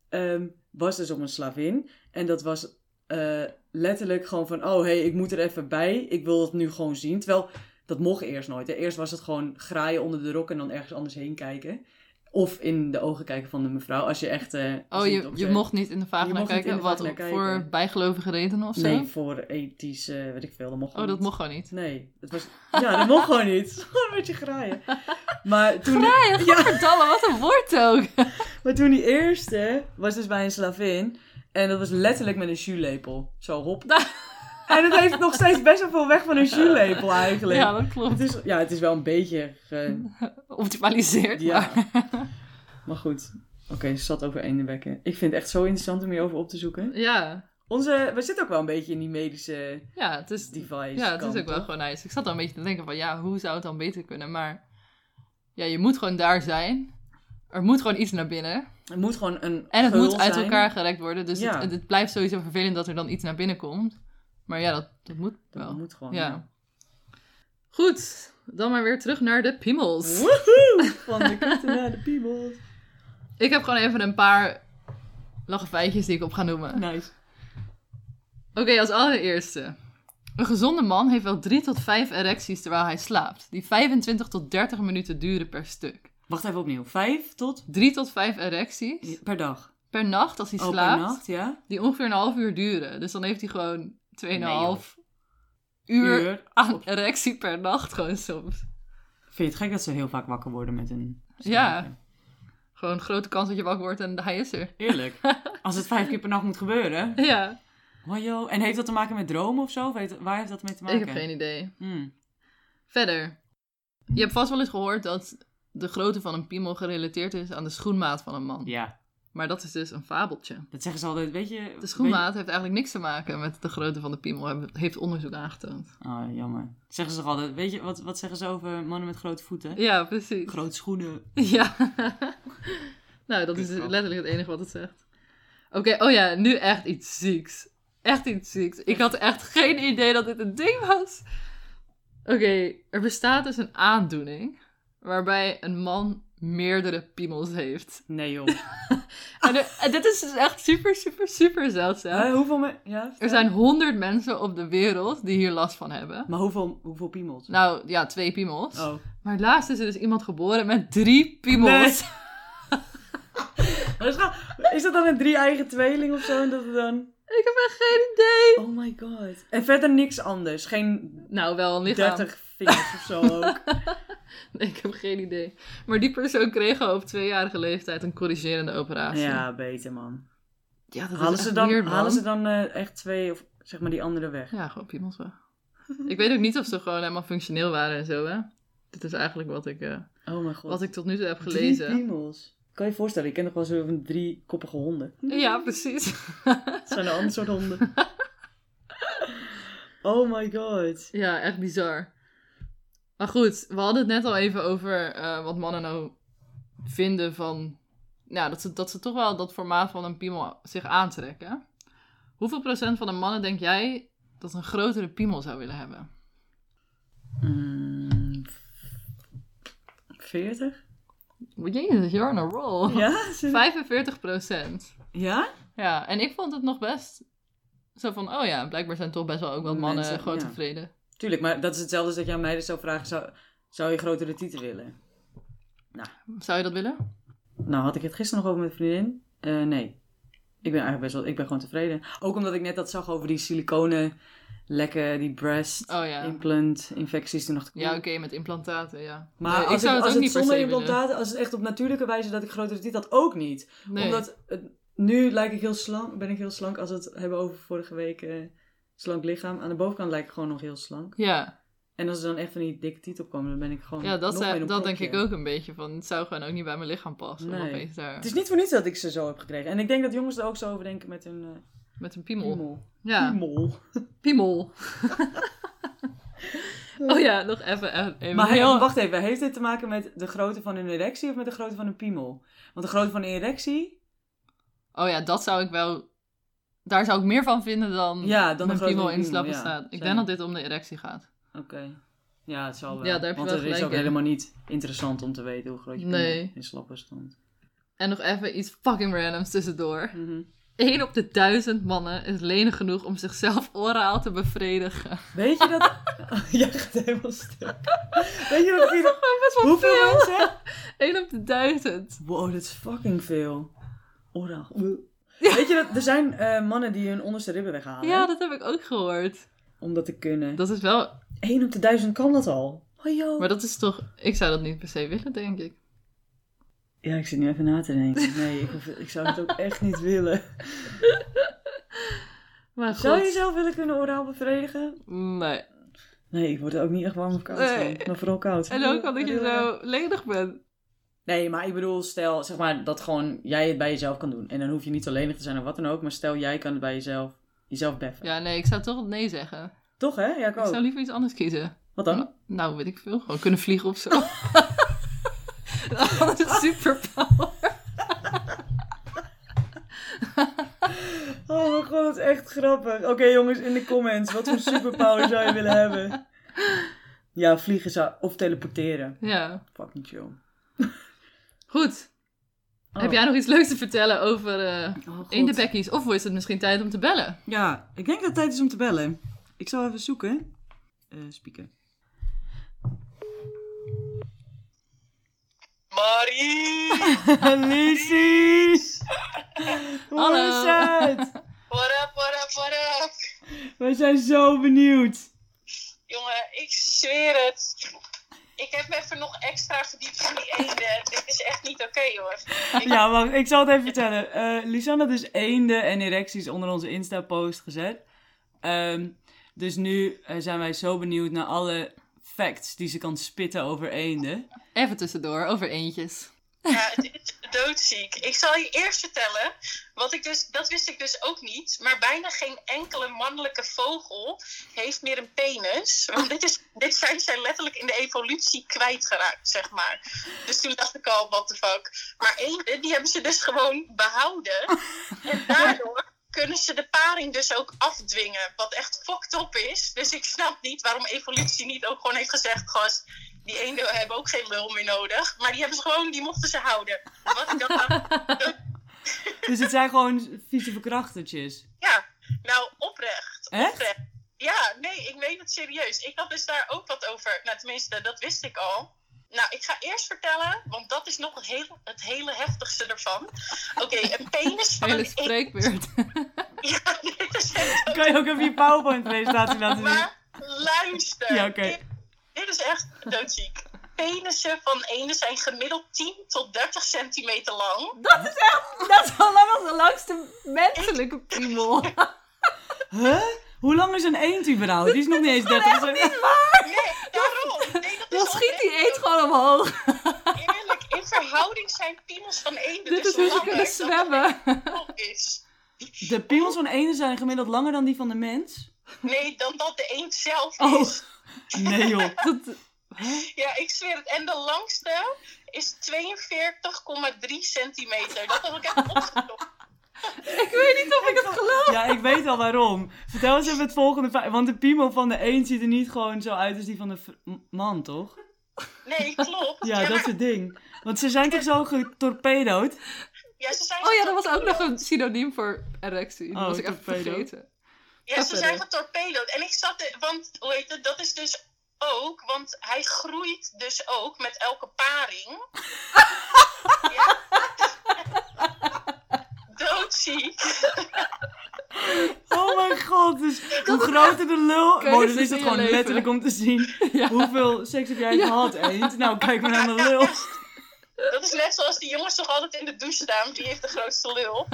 [SPEAKER 1] ehm, was dus op een slavin. En dat was eh, letterlijk gewoon van, oh hey, ik moet er even bij, ik wil het nu gewoon zien. Terwijl, dat mocht eerst nooit. Hè. Eerst was het gewoon graaien onder de rok en dan ergens anders heen kijken. Of in de ogen kijken van de mevrouw, als je echt... eh, als
[SPEAKER 2] Oh,
[SPEAKER 1] het
[SPEAKER 2] je,
[SPEAKER 1] op
[SPEAKER 2] je
[SPEAKER 1] zet.
[SPEAKER 2] mocht niet in de
[SPEAKER 1] Je
[SPEAKER 2] vagina
[SPEAKER 1] mocht niet in
[SPEAKER 2] kijken?
[SPEAKER 1] de
[SPEAKER 2] Wat,
[SPEAKER 1] vagina kijken.
[SPEAKER 2] voor bijgelovige redenen of zo?
[SPEAKER 1] Nee, voor ethische, weet ik veel, dat mocht
[SPEAKER 2] oh, dat
[SPEAKER 1] niet.
[SPEAKER 2] mocht gewoon niet.
[SPEAKER 1] Nee, het was... Ja, dat mocht gewoon niet. Het is Gewoon een beetje graaien. Maar toen...
[SPEAKER 2] Graaien,
[SPEAKER 1] Ja.
[SPEAKER 2] godverdamme, wat een woord ook.
[SPEAKER 1] Maar toen die eerste was dus bij een slavin. En dat was letterlijk met een jus-lepel. Zo hop. en het heeft nog steeds best wel veel weg van een jus-lepel eigenlijk.
[SPEAKER 2] Ja, dat
[SPEAKER 1] het
[SPEAKER 2] klopt.
[SPEAKER 1] is, ja, het is wel een beetje... ge-
[SPEAKER 2] Optimaliseerd,
[SPEAKER 1] ja.
[SPEAKER 2] maar...
[SPEAKER 1] Maar goed. Oké, ze zat over eendenbekken. Ik vind het echt zo interessant om hierover op te zoeken.
[SPEAKER 2] Ja,
[SPEAKER 1] Onze, we zitten ook wel een beetje in die medische
[SPEAKER 2] ja, het is,
[SPEAKER 1] device
[SPEAKER 2] ja, het
[SPEAKER 1] kant,
[SPEAKER 2] is ook wel
[SPEAKER 1] toch?
[SPEAKER 2] gewoon nice. Ik zat al een beetje te denken van, ja, hoe zou het dan beter kunnen? Maar ja, je moet gewoon daar zijn. Er moet gewoon iets naar binnen.
[SPEAKER 1] Het moet gewoon een
[SPEAKER 2] En het
[SPEAKER 1] geul
[SPEAKER 2] moet uit
[SPEAKER 1] zijn.
[SPEAKER 2] elkaar gerekt worden. Dus
[SPEAKER 1] Ja.
[SPEAKER 2] het, het blijft sowieso vervelend dat er dan iets naar binnen komt. Maar ja, dat, dat moet
[SPEAKER 1] Dat
[SPEAKER 2] wel.
[SPEAKER 1] moet gewoon.
[SPEAKER 2] ja. Goed, dan maar weer terug naar de piemels.
[SPEAKER 1] Woehoe! Van de kutten naar de piemel.
[SPEAKER 2] Ik heb gewoon even een paar lachfeitjes die ik op ga noemen.
[SPEAKER 1] Nice.
[SPEAKER 2] Oké, als allereerste. Een gezonde man heeft wel 3 tot 5 erecties terwijl hij slaapt. Die 25 tot 30 minuten duren per stuk.
[SPEAKER 1] Wacht even opnieuw. Vijf tot
[SPEAKER 2] 3 tot 5 erecties
[SPEAKER 1] per dag.
[SPEAKER 2] per nacht als hij
[SPEAKER 1] Oh, per
[SPEAKER 2] slaapt.
[SPEAKER 1] nacht, ja.
[SPEAKER 2] Die ongeveer een half uur duren. Dus dan heeft hij gewoon 2,5 uur
[SPEAKER 1] Uur.
[SPEAKER 2] aan erectie per nacht gewoon soms.
[SPEAKER 1] Vind je het gek dat ze heel vaak wakker worden met een...
[SPEAKER 2] Ja. Gewoon een grote kans dat je wakker wordt en hij is er.
[SPEAKER 1] Eerlijk. Als het vijf keer per nacht moet gebeuren.
[SPEAKER 2] Ja,
[SPEAKER 1] Wajo. En heeft dat te maken met dromen of zo? Of heeft- waar heeft dat mee te maken?
[SPEAKER 2] ik heb geen idee.
[SPEAKER 1] Hmm.
[SPEAKER 2] Verder. Je hebt vast wel eens gehoord dat de grootte van een piemel gerelateerd is aan de schoenmaat van een man.
[SPEAKER 1] Ja.
[SPEAKER 2] Maar dat is dus een fabeltje.
[SPEAKER 1] Dat zeggen ze altijd, weet je...
[SPEAKER 2] De schoenmaat heeft eigenlijk niks te maken met de grootte van de piemel, hebben- heeft onderzoek aangetoond.
[SPEAKER 1] Oh, jammer. Dat zeggen ze toch altijd. Weet je, wat, wat zeggen ze over mannen met grote voeten?
[SPEAKER 2] Ja, precies.
[SPEAKER 1] Grote schoenen.
[SPEAKER 2] Ja. nou, dat is
[SPEAKER 1] Kutgrap.
[SPEAKER 2] letterlijk het enige wat het zegt. Oké, oh ja, nu echt iets zieks. Echt iets zieks. Ik had echt geen idee dat dit een ding was. Oké, er bestaat dus een aandoening waarbij een man meerdere piemels heeft.
[SPEAKER 1] Nee, joh.
[SPEAKER 2] En, er- en dit is dus echt super, super, super
[SPEAKER 1] Hè,
[SPEAKER 2] zeldzaam.
[SPEAKER 1] Eh, hoeveel... me- Ja,
[SPEAKER 2] Er zijn honderd mensen op de wereld die hier last van hebben.
[SPEAKER 1] Maar hoeveel, hoeveel piemels?
[SPEAKER 2] Nou ja, twee piemels.
[SPEAKER 1] Oh.
[SPEAKER 2] Maar laatst is er dus iemand geboren met drie piemels.
[SPEAKER 1] Maar is, dat, is dat dan een drie-eigen tweeling of zo? En dat het dan...
[SPEAKER 2] Ik heb echt geen idee.
[SPEAKER 1] Oh my god. En verder niks anders. Geen
[SPEAKER 2] Nou, wel een lichaam.
[SPEAKER 1] 30 vingers of zo ook.
[SPEAKER 2] Nee, ik heb geen idee. Maar die persoon kreeg al op tweejarige leeftijd een corrigerende operatie.
[SPEAKER 1] ja, beter man.
[SPEAKER 2] Ja, dat
[SPEAKER 1] Halen
[SPEAKER 2] is
[SPEAKER 1] ze
[SPEAKER 2] echt
[SPEAKER 1] dan,
[SPEAKER 2] weird, man.
[SPEAKER 1] halen ze dan eh, echt twee of zeg maar die andere weg?
[SPEAKER 2] Ja, gewoon piemels weg. ik weet ook niet of ze gewoon helemaal functioneel waren en zo, hè. Dit is eigenlijk wat ik, eh,
[SPEAKER 1] Oh mijn god.
[SPEAKER 2] wat ik tot nu toe heb
[SPEAKER 1] Drie
[SPEAKER 2] gelezen.
[SPEAKER 1] piemels. Kan je je voorstellen, ik ken nog wel zo'n drie koppige honden.
[SPEAKER 2] Ja, precies.
[SPEAKER 1] Het zijn een ander soort honden. oh my god.
[SPEAKER 2] ja, echt bizar. Maar goed, we hadden het net al even over eh, wat mannen nou vinden van... Nou, dat ze, dat ze toch wel dat formaat van een piemel zich aantrekken. Hoeveel procent van de mannen denk jij dat een grotere piemel zou willen hebben?
[SPEAKER 1] Mm, 40?
[SPEAKER 2] Jezus, you're on a roll.
[SPEAKER 1] Ja? Ze-
[SPEAKER 2] 45 procent.
[SPEAKER 1] Ja?
[SPEAKER 2] Ja, en ik vond het nog best zo van, oh ja, blijkbaar zijn toch best wel ook wat mannen eh,
[SPEAKER 1] Mensen,
[SPEAKER 2] gewoon
[SPEAKER 1] ja.
[SPEAKER 2] tevreden.
[SPEAKER 1] Tuurlijk, maar dat is hetzelfde als dat jij aan meiden zou vragen, zou, zou je grotere tieten willen?
[SPEAKER 2] Zou je dat willen?
[SPEAKER 1] Nou, had ik het gisteren nog over met een vriendin? Eh, nee. Ik ben eigenlijk best wel... Ik ben gewoon tevreden. Ook omdat ik net dat zag over die siliconen lekken, die breast
[SPEAKER 2] Oh ja.
[SPEAKER 1] implant infecties. Toen dacht ik...
[SPEAKER 2] Ja,
[SPEAKER 1] oeh.
[SPEAKER 2] oké, met implantaten, ja.
[SPEAKER 1] Maar
[SPEAKER 2] Nee,
[SPEAKER 1] als ik- als het
[SPEAKER 2] per
[SPEAKER 1] zonder
[SPEAKER 2] se willen.
[SPEAKER 1] implantaten, als het echt op natuurlijke wijze dat ik grotere tiet had, ook niet.
[SPEAKER 2] Nee.
[SPEAKER 1] Omdat het, nu lijk ik heel slank, ben ik heel slank als we het hebben over vorige week eh, slank lichaam. Aan de bovenkant lijk ik gewoon nog heel slank.
[SPEAKER 2] Ja,
[SPEAKER 1] En als er dan echt van die dikke tiet op komen, dan ben ik gewoon
[SPEAKER 2] ja dat,
[SPEAKER 1] nog
[SPEAKER 2] zei-
[SPEAKER 1] weer een
[SPEAKER 2] dat denk ik
[SPEAKER 1] propje.
[SPEAKER 2] ook een beetje van, het zou gewoon ook niet bij mijn lichaam passen. om
[SPEAKER 1] Nee.
[SPEAKER 2] opeens daar
[SPEAKER 1] Het is niet voor niets dat ik ze zo heb gekregen. En ik denk dat jongens er ook zo over denken met hun eh
[SPEAKER 2] met een piemel.
[SPEAKER 1] piemel.
[SPEAKER 2] Ja,
[SPEAKER 1] Piemel.
[SPEAKER 2] piemel. oh ja, nog even, even, even
[SPEAKER 1] Maar
[SPEAKER 2] heel...
[SPEAKER 1] he- wacht even, heeft dit te maken met de grootte van een erectie of met de grootte van een piemel? Want de grootte van een erectie,
[SPEAKER 2] Oh ja, dat zou ik wel... Daar zou ik meer van vinden dan,
[SPEAKER 1] Ja, dan
[SPEAKER 2] Mm. mijn
[SPEAKER 1] een grotere
[SPEAKER 2] piemel in
[SPEAKER 1] piemel,
[SPEAKER 2] slappe
[SPEAKER 1] ja.
[SPEAKER 2] staat. Ik
[SPEAKER 1] Zeker.
[SPEAKER 2] denk dat dit om de erectie gaat.
[SPEAKER 1] oké. Ja, het zal wel.
[SPEAKER 2] Ja, daar heb je
[SPEAKER 1] Want
[SPEAKER 2] wel
[SPEAKER 1] het is
[SPEAKER 2] gelijk
[SPEAKER 1] ook
[SPEAKER 2] in.
[SPEAKER 1] helemaal niet interessant om te weten hoe groot je piemel
[SPEAKER 2] Nee.
[SPEAKER 1] in slappe stond.
[SPEAKER 2] En nog even iets fucking randoms tussendoor. Eén op de duizend mannen is lenig genoeg om zichzelf oraal te bevredigen.
[SPEAKER 1] Weet je dat... Jij gaat helemaal stuk. Weet je dat... Wie...
[SPEAKER 2] Best wel
[SPEAKER 1] Hoeveel
[SPEAKER 2] veel.
[SPEAKER 1] mensen?
[SPEAKER 2] Eén op de duizend.
[SPEAKER 1] Wow, dat is fucking veel. Oraal. Weet je dat... Er zijn eh, mannen die hun onderste ribben weghalen.
[SPEAKER 2] Ja, dat heb ik ook gehoord.
[SPEAKER 1] Om dat te kunnen.
[SPEAKER 2] Dat is wel...
[SPEAKER 1] 1 op de duizend kan dat al. Oh, joh.
[SPEAKER 2] Maar dat is toch... Ik zou dat niet per se willen, denk ik.
[SPEAKER 1] Ja, ik zit nu even na te denken. Nee, ik, hoef- ik zou het ook echt niet willen.
[SPEAKER 2] Maar goed.
[SPEAKER 1] Zou je jezelf willen kunnen oraal bevredigen?
[SPEAKER 2] Nee.
[SPEAKER 1] Nee, ik word er ook niet echt warm of koud
[SPEAKER 2] Nee.
[SPEAKER 1] van. Maar vooral koud.
[SPEAKER 2] En ook omdat je zo lenig bent.
[SPEAKER 1] Nee, maar ik bedoel, stel zeg maar, dat gewoon jij het bij jezelf kan doen. En dan hoef je niet zo lenig te zijn of wat dan ook. Maar stel jij kan het bij jezelf, jezelf beffen.
[SPEAKER 2] Ja, nee, ik zou toch nee zeggen.
[SPEAKER 1] Toch hè? Ja, ik
[SPEAKER 2] Ik
[SPEAKER 1] ook.
[SPEAKER 2] zou liever iets anders kiezen.
[SPEAKER 1] Wat dan?
[SPEAKER 2] Nou, weet ik veel. Gewoon kunnen vliegen of zo. Dat is een superpower.
[SPEAKER 1] Oh mijn god, dat is echt grappig. Oké jongens, in de comments. Wat voor superpower zou je willen hebben? Ja, vliegen zou... Of teleporteren.
[SPEAKER 2] Ja.
[SPEAKER 1] Fucking chill.
[SPEAKER 2] Goed.
[SPEAKER 1] Oh.
[SPEAKER 2] Heb jij nog iets leuks te vertellen over eh
[SPEAKER 1] Oh, god.
[SPEAKER 2] in de bekkies? Of is het misschien tijd om te bellen?
[SPEAKER 1] Ja, ik denk dat het tijd is om te bellen. Ik zal even zoeken. Eh spieken.
[SPEAKER 3] Marie!
[SPEAKER 1] Lucy! Hoe
[SPEAKER 2] Hallo.
[SPEAKER 1] is het?
[SPEAKER 3] What up, what up, what up?
[SPEAKER 1] Wij zijn zo benieuwd.
[SPEAKER 3] Jongen, ik zweer het. Ik heb me even nog extra verdiept in die eenden. Dit is echt niet oké, hoor.
[SPEAKER 1] Ja, wacht, ik zal het even vertellen. Eh Lisanne had dus eenden en erecties onder onze Insta-post gezet. Ehm, dus nu eh, zijn wij zo benieuwd naar alle facts die ze kan spitten over eenden.
[SPEAKER 2] Even tussendoor, over eentjes.
[SPEAKER 3] Ja, het is doodziek. Ik zal je eerst vertellen, wat ik dus, dat wist ik dus ook niet, maar bijna geen enkele mannelijke vogel heeft meer een penis. Want dit, is, dit zijn zij letterlijk in de evolutie kwijtgeraakt, zeg maar. Dus toen dacht ik al, what the fuck. Maar eenden, die hebben ze dus gewoon behouden. En daardoor kunnen ze de paring dus ook afdwingen, wat echt fucked up is. Dus ik snap niet waarom evolutie niet ook gewoon heeft gezegd, gast, die eenden hebben ook geen lul meer nodig. Maar die hebben ze gewoon, die mochten ze houden. Wat ik dan
[SPEAKER 1] Dus het zijn gewoon vieze verkrachtertjes.
[SPEAKER 3] ja, nou oprecht.
[SPEAKER 1] Echt?
[SPEAKER 3] oprecht. Ja, nee, ik weet het serieus. Ik had dus daar ook wat over. Nou, tenminste, dat wist ik al. Nou, ik ga eerst vertellen, want dat is nog het hele, het hele heftigste ervan. Oké, een penis van
[SPEAKER 2] Hele
[SPEAKER 3] een eend.
[SPEAKER 2] spreekbeurt.
[SPEAKER 3] Ja, dit is echt
[SPEAKER 1] Kan je ook even je PowerPoint-presentatie laten zien?
[SPEAKER 3] Maar luister.
[SPEAKER 1] Ja, oké.
[SPEAKER 3] Dit- Dit is echt doodziek. Penissen van ene zijn gemiddeld 10 tot 30 centimeter lang.
[SPEAKER 2] Dat is echt, dat is al lang de langste menselijke piemel.
[SPEAKER 1] Huh? Hoe lang is een eend überhaupt? Die is nog niet eens 30 centimeter.
[SPEAKER 3] Nee, daarom. Nee, dat is
[SPEAKER 2] Dan
[SPEAKER 3] al
[SPEAKER 2] schiet die
[SPEAKER 3] echt
[SPEAKER 2] eend gewoon omhoog.
[SPEAKER 3] Eerlijk, in verhouding zijn piemels van eenden
[SPEAKER 2] Dit
[SPEAKER 3] dus
[SPEAKER 2] is hoe ze
[SPEAKER 3] langer
[SPEAKER 2] kunnen
[SPEAKER 3] dan dat
[SPEAKER 2] zwemmen.
[SPEAKER 3] een kop is.
[SPEAKER 1] De piemels van eenden zijn gemiddeld langer dan die van de mens.
[SPEAKER 3] Nee, dan dat de eend zelf
[SPEAKER 1] Oh.
[SPEAKER 3] is.
[SPEAKER 1] Nee joh.
[SPEAKER 2] Dat,
[SPEAKER 3] Ja, ik zweer het. En de langste is 42,3 centimeter. Dat heb ik echt opgezocht.
[SPEAKER 2] ik weet niet of ik het geloof.
[SPEAKER 1] Ja, ik weet al waarom. Vertel eens even het volgende. fa- Want de piemel van de eend ziet er niet gewoon zo uit als die van de v- m- man, toch?
[SPEAKER 3] Nee, klopt.
[SPEAKER 1] Ja, dat is
[SPEAKER 3] maar-
[SPEAKER 1] het ding. Want ze zijn toch zo getorpedood?
[SPEAKER 3] ja, ze zijn
[SPEAKER 2] Oh ja, dat was ook nog een synoniem voor erectie. Dat
[SPEAKER 1] Oh,
[SPEAKER 2] was ik even
[SPEAKER 1] torpedo.
[SPEAKER 2] vergeten.
[SPEAKER 3] Ja,
[SPEAKER 2] Ga
[SPEAKER 3] ze
[SPEAKER 2] verder.
[SPEAKER 3] zijn getorpedood. En ik zat, er- want hoe heet het, dat is dus ook, want hij groeit dus ook met elke paring. ja. Doodziek.
[SPEAKER 1] Oh mijn god. Dus hoe groter de lul...
[SPEAKER 2] Keuzes
[SPEAKER 1] Wow, dan is
[SPEAKER 2] in
[SPEAKER 1] het
[SPEAKER 2] je
[SPEAKER 1] gewoon
[SPEAKER 2] leven.
[SPEAKER 1] letterlijk om te zien
[SPEAKER 2] Ja.
[SPEAKER 1] hoeveel seks heb jij
[SPEAKER 2] Ja.
[SPEAKER 1] gehad, eend. Nou, kijk maar naar de lul.
[SPEAKER 3] Dat is net zoals die jongens toch altijd in de douche staan, die heeft de grootste lul.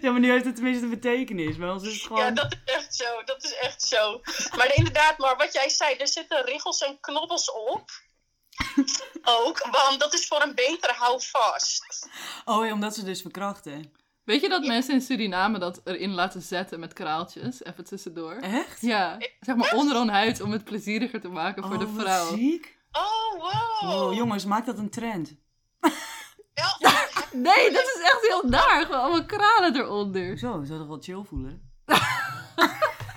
[SPEAKER 1] Ja, maar nu heeft het tenminste een betekenis. Bij ons is het
[SPEAKER 3] Ja,
[SPEAKER 1] gewoon...
[SPEAKER 3] dat is echt zo, dat is echt zo. Maar inderdaad, maar wat jij zei, er zitten riggels en knobbels op. Ook, want dat is voor een betere houvast.
[SPEAKER 1] Oh ja, omdat ze dus verkrachten.
[SPEAKER 2] Weet je dat mensen in Suriname dat erin laten zetten met kraaltjes? Even tussendoor.
[SPEAKER 1] Echt?
[SPEAKER 2] Ja, zeg maar onder hun huid om het plezieriger te maken voor
[SPEAKER 1] oh,
[SPEAKER 2] de
[SPEAKER 1] wat
[SPEAKER 2] vrouw.
[SPEAKER 1] ziek.
[SPEAKER 3] Oh,
[SPEAKER 1] Wow, jongens, maak dat een trend.
[SPEAKER 3] Wel,
[SPEAKER 2] Nee, dat is echt heel daar. Gewoon allemaal kralen eronder.
[SPEAKER 1] Zo, ik zou toch wel chill voelen?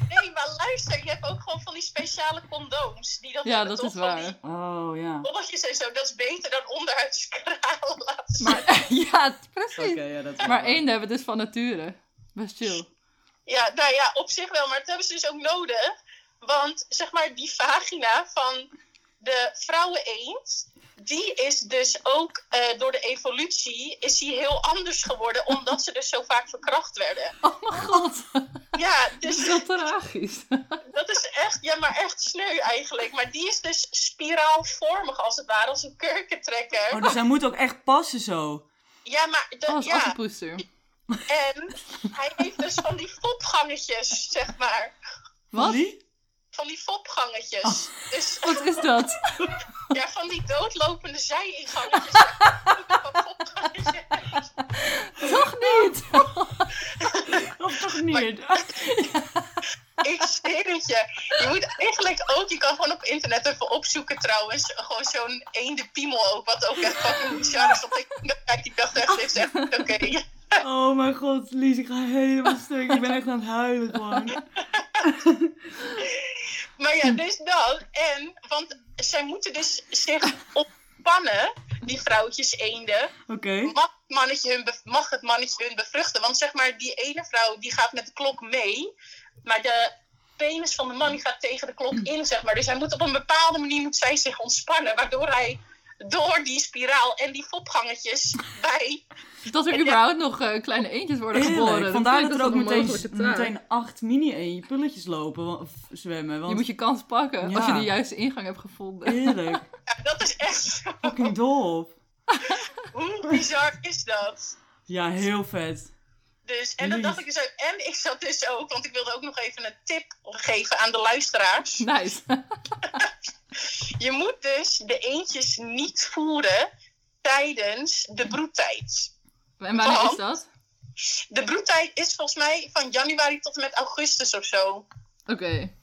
[SPEAKER 3] Nee, maar luister, je hebt ook gewoon van die speciale condooms. Die dat
[SPEAKER 2] Ja,
[SPEAKER 3] hebben,
[SPEAKER 2] dat
[SPEAKER 3] toch?
[SPEAKER 2] is
[SPEAKER 3] Van
[SPEAKER 2] waar.
[SPEAKER 3] die
[SPEAKER 1] Oh ja.
[SPEAKER 3] bolletjes en zo, dat is beter dan onderhuidskralen laten zien. Maar...
[SPEAKER 2] ja,
[SPEAKER 1] Oké,
[SPEAKER 2] precies.
[SPEAKER 1] ja, dat is wel
[SPEAKER 2] Maar
[SPEAKER 1] waar.
[SPEAKER 2] eenden hebben het dus van nature. Best chill.
[SPEAKER 3] Ja, nou ja, op zich wel, maar dat hebben ze dus ook nodig. Want zeg maar, die vagina van de vrouweneend, die is dus ook eh, door de evolutie is die heel anders geworden, omdat ze dus zo vaak verkracht werden.
[SPEAKER 2] Oh mijn god,
[SPEAKER 3] Ja,
[SPEAKER 2] dit is
[SPEAKER 3] dus
[SPEAKER 2] wel tragisch.
[SPEAKER 3] dat is echt, ja, maar echt sneu eigenlijk. Maar die is dus spiraalvormig als het ware, als een kurkentrekker.
[SPEAKER 1] Oh, dus hij moet ook echt passen zo.
[SPEAKER 3] Ja, maar de-
[SPEAKER 2] Als
[SPEAKER 3] ja,
[SPEAKER 2] assenpoester.
[SPEAKER 3] en hij heeft dus van die fopgangetjes, zeg maar.
[SPEAKER 2] Wat?
[SPEAKER 1] Die?
[SPEAKER 3] Van die fopgangetjes. Dus
[SPEAKER 2] Wat is dat?
[SPEAKER 3] Ja, van die doodlopende zijingangetjes.
[SPEAKER 2] Toch niet?
[SPEAKER 1] Of toch niet?
[SPEAKER 3] ik zweer het je. Je moet eigenlijk ook, je kan gewoon op internet even opzoeken trouwens. Gewoon zo'n eendenpiemel ook, wat ook echt fucking bizar is. Dat ik, kijk, ik dacht echt, dit is echt niet oké.
[SPEAKER 1] Oh mijn god, Lies, ik ga helemaal stuk. Ik ben echt aan het huilen gewoon.
[SPEAKER 3] Maar ja, dus dat. En, want zij moeten dus zich ontspannen, die vrouwtjes eenden.
[SPEAKER 1] Oké.
[SPEAKER 3] Mag, het mannetje hun bev- mag het mannetje hun bevruchten? Want zeg maar, die ene vrouw die gaat met de klok mee, maar de penis van de man die gaat tegen de klok in, zeg maar. Dus hij moet op een bepaalde manier moet zij zich ontspannen, waardoor hij door die spiraal en die fopgangetjes bij...
[SPEAKER 2] Dus Dat er überhaupt nog eh, kleine eendjes worden geboren.
[SPEAKER 1] Heerlijk.
[SPEAKER 2] Dat
[SPEAKER 1] Vandaar
[SPEAKER 2] vind
[SPEAKER 1] dat
[SPEAKER 2] ik
[SPEAKER 1] er
[SPEAKER 2] best
[SPEAKER 1] ook
[SPEAKER 2] wel een
[SPEAKER 1] meteen,
[SPEAKER 2] mogelijke taak.
[SPEAKER 1] meteen acht mini-pulletjes lopen, wa- of zwemmen. Want
[SPEAKER 2] Je moet je kans pakken
[SPEAKER 1] Ja.
[SPEAKER 2] als je de juiste ingang hebt gevonden.
[SPEAKER 1] heerlijk.
[SPEAKER 3] Ja, dat is echt...
[SPEAKER 1] Fucking dol op.
[SPEAKER 3] Hoe bizar is dat?
[SPEAKER 1] Ja, heel vet.
[SPEAKER 3] Dus, en dat dacht ik dus ook. En ik zat dus ook, want ik wilde ook nog even een tip geven aan de luisteraars.
[SPEAKER 2] Nice.
[SPEAKER 3] Je moet dus de eentjes niet voeren tijdens de broedtijd.
[SPEAKER 2] En wanneer
[SPEAKER 1] Oh.
[SPEAKER 3] Want-
[SPEAKER 2] is dat?
[SPEAKER 3] De broedtijd is volgens mij van januari tot en met augustus of zo.
[SPEAKER 2] Oké.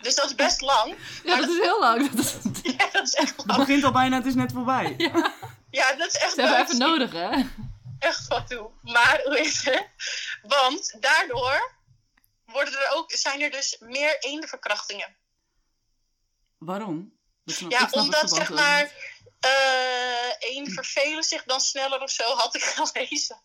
[SPEAKER 3] Dus dat is best lang.
[SPEAKER 2] Ja, dat is heel lang. Dat is-
[SPEAKER 3] Ja, dat is echt
[SPEAKER 1] Het
[SPEAKER 2] Oh.
[SPEAKER 3] lang.
[SPEAKER 1] begint al bijna, het is net voorbij.
[SPEAKER 3] Ja, dat is echt
[SPEAKER 2] Ze hebben
[SPEAKER 3] dood.
[SPEAKER 2] even nodig, hè? Oh,
[SPEAKER 3] Echt wat toe. Maar hoe is het? Want daardoor worden er ook, zijn er dus meer eendenverkrachtingen.
[SPEAKER 1] Waarom? Dat snap-
[SPEAKER 3] Ja,
[SPEAKER 1] ik snap het
[SPEAKER 3] omdat
[SPEAKER 1] verband
[SPEAKER 3] zeg
[SPEAKER 1] ook
[SPEAKER 3] maar
[SPEAKER 1] niet.
[SPEAKER 3] eh eenden vervelen zich dan sneller of zo, had ik gelezen.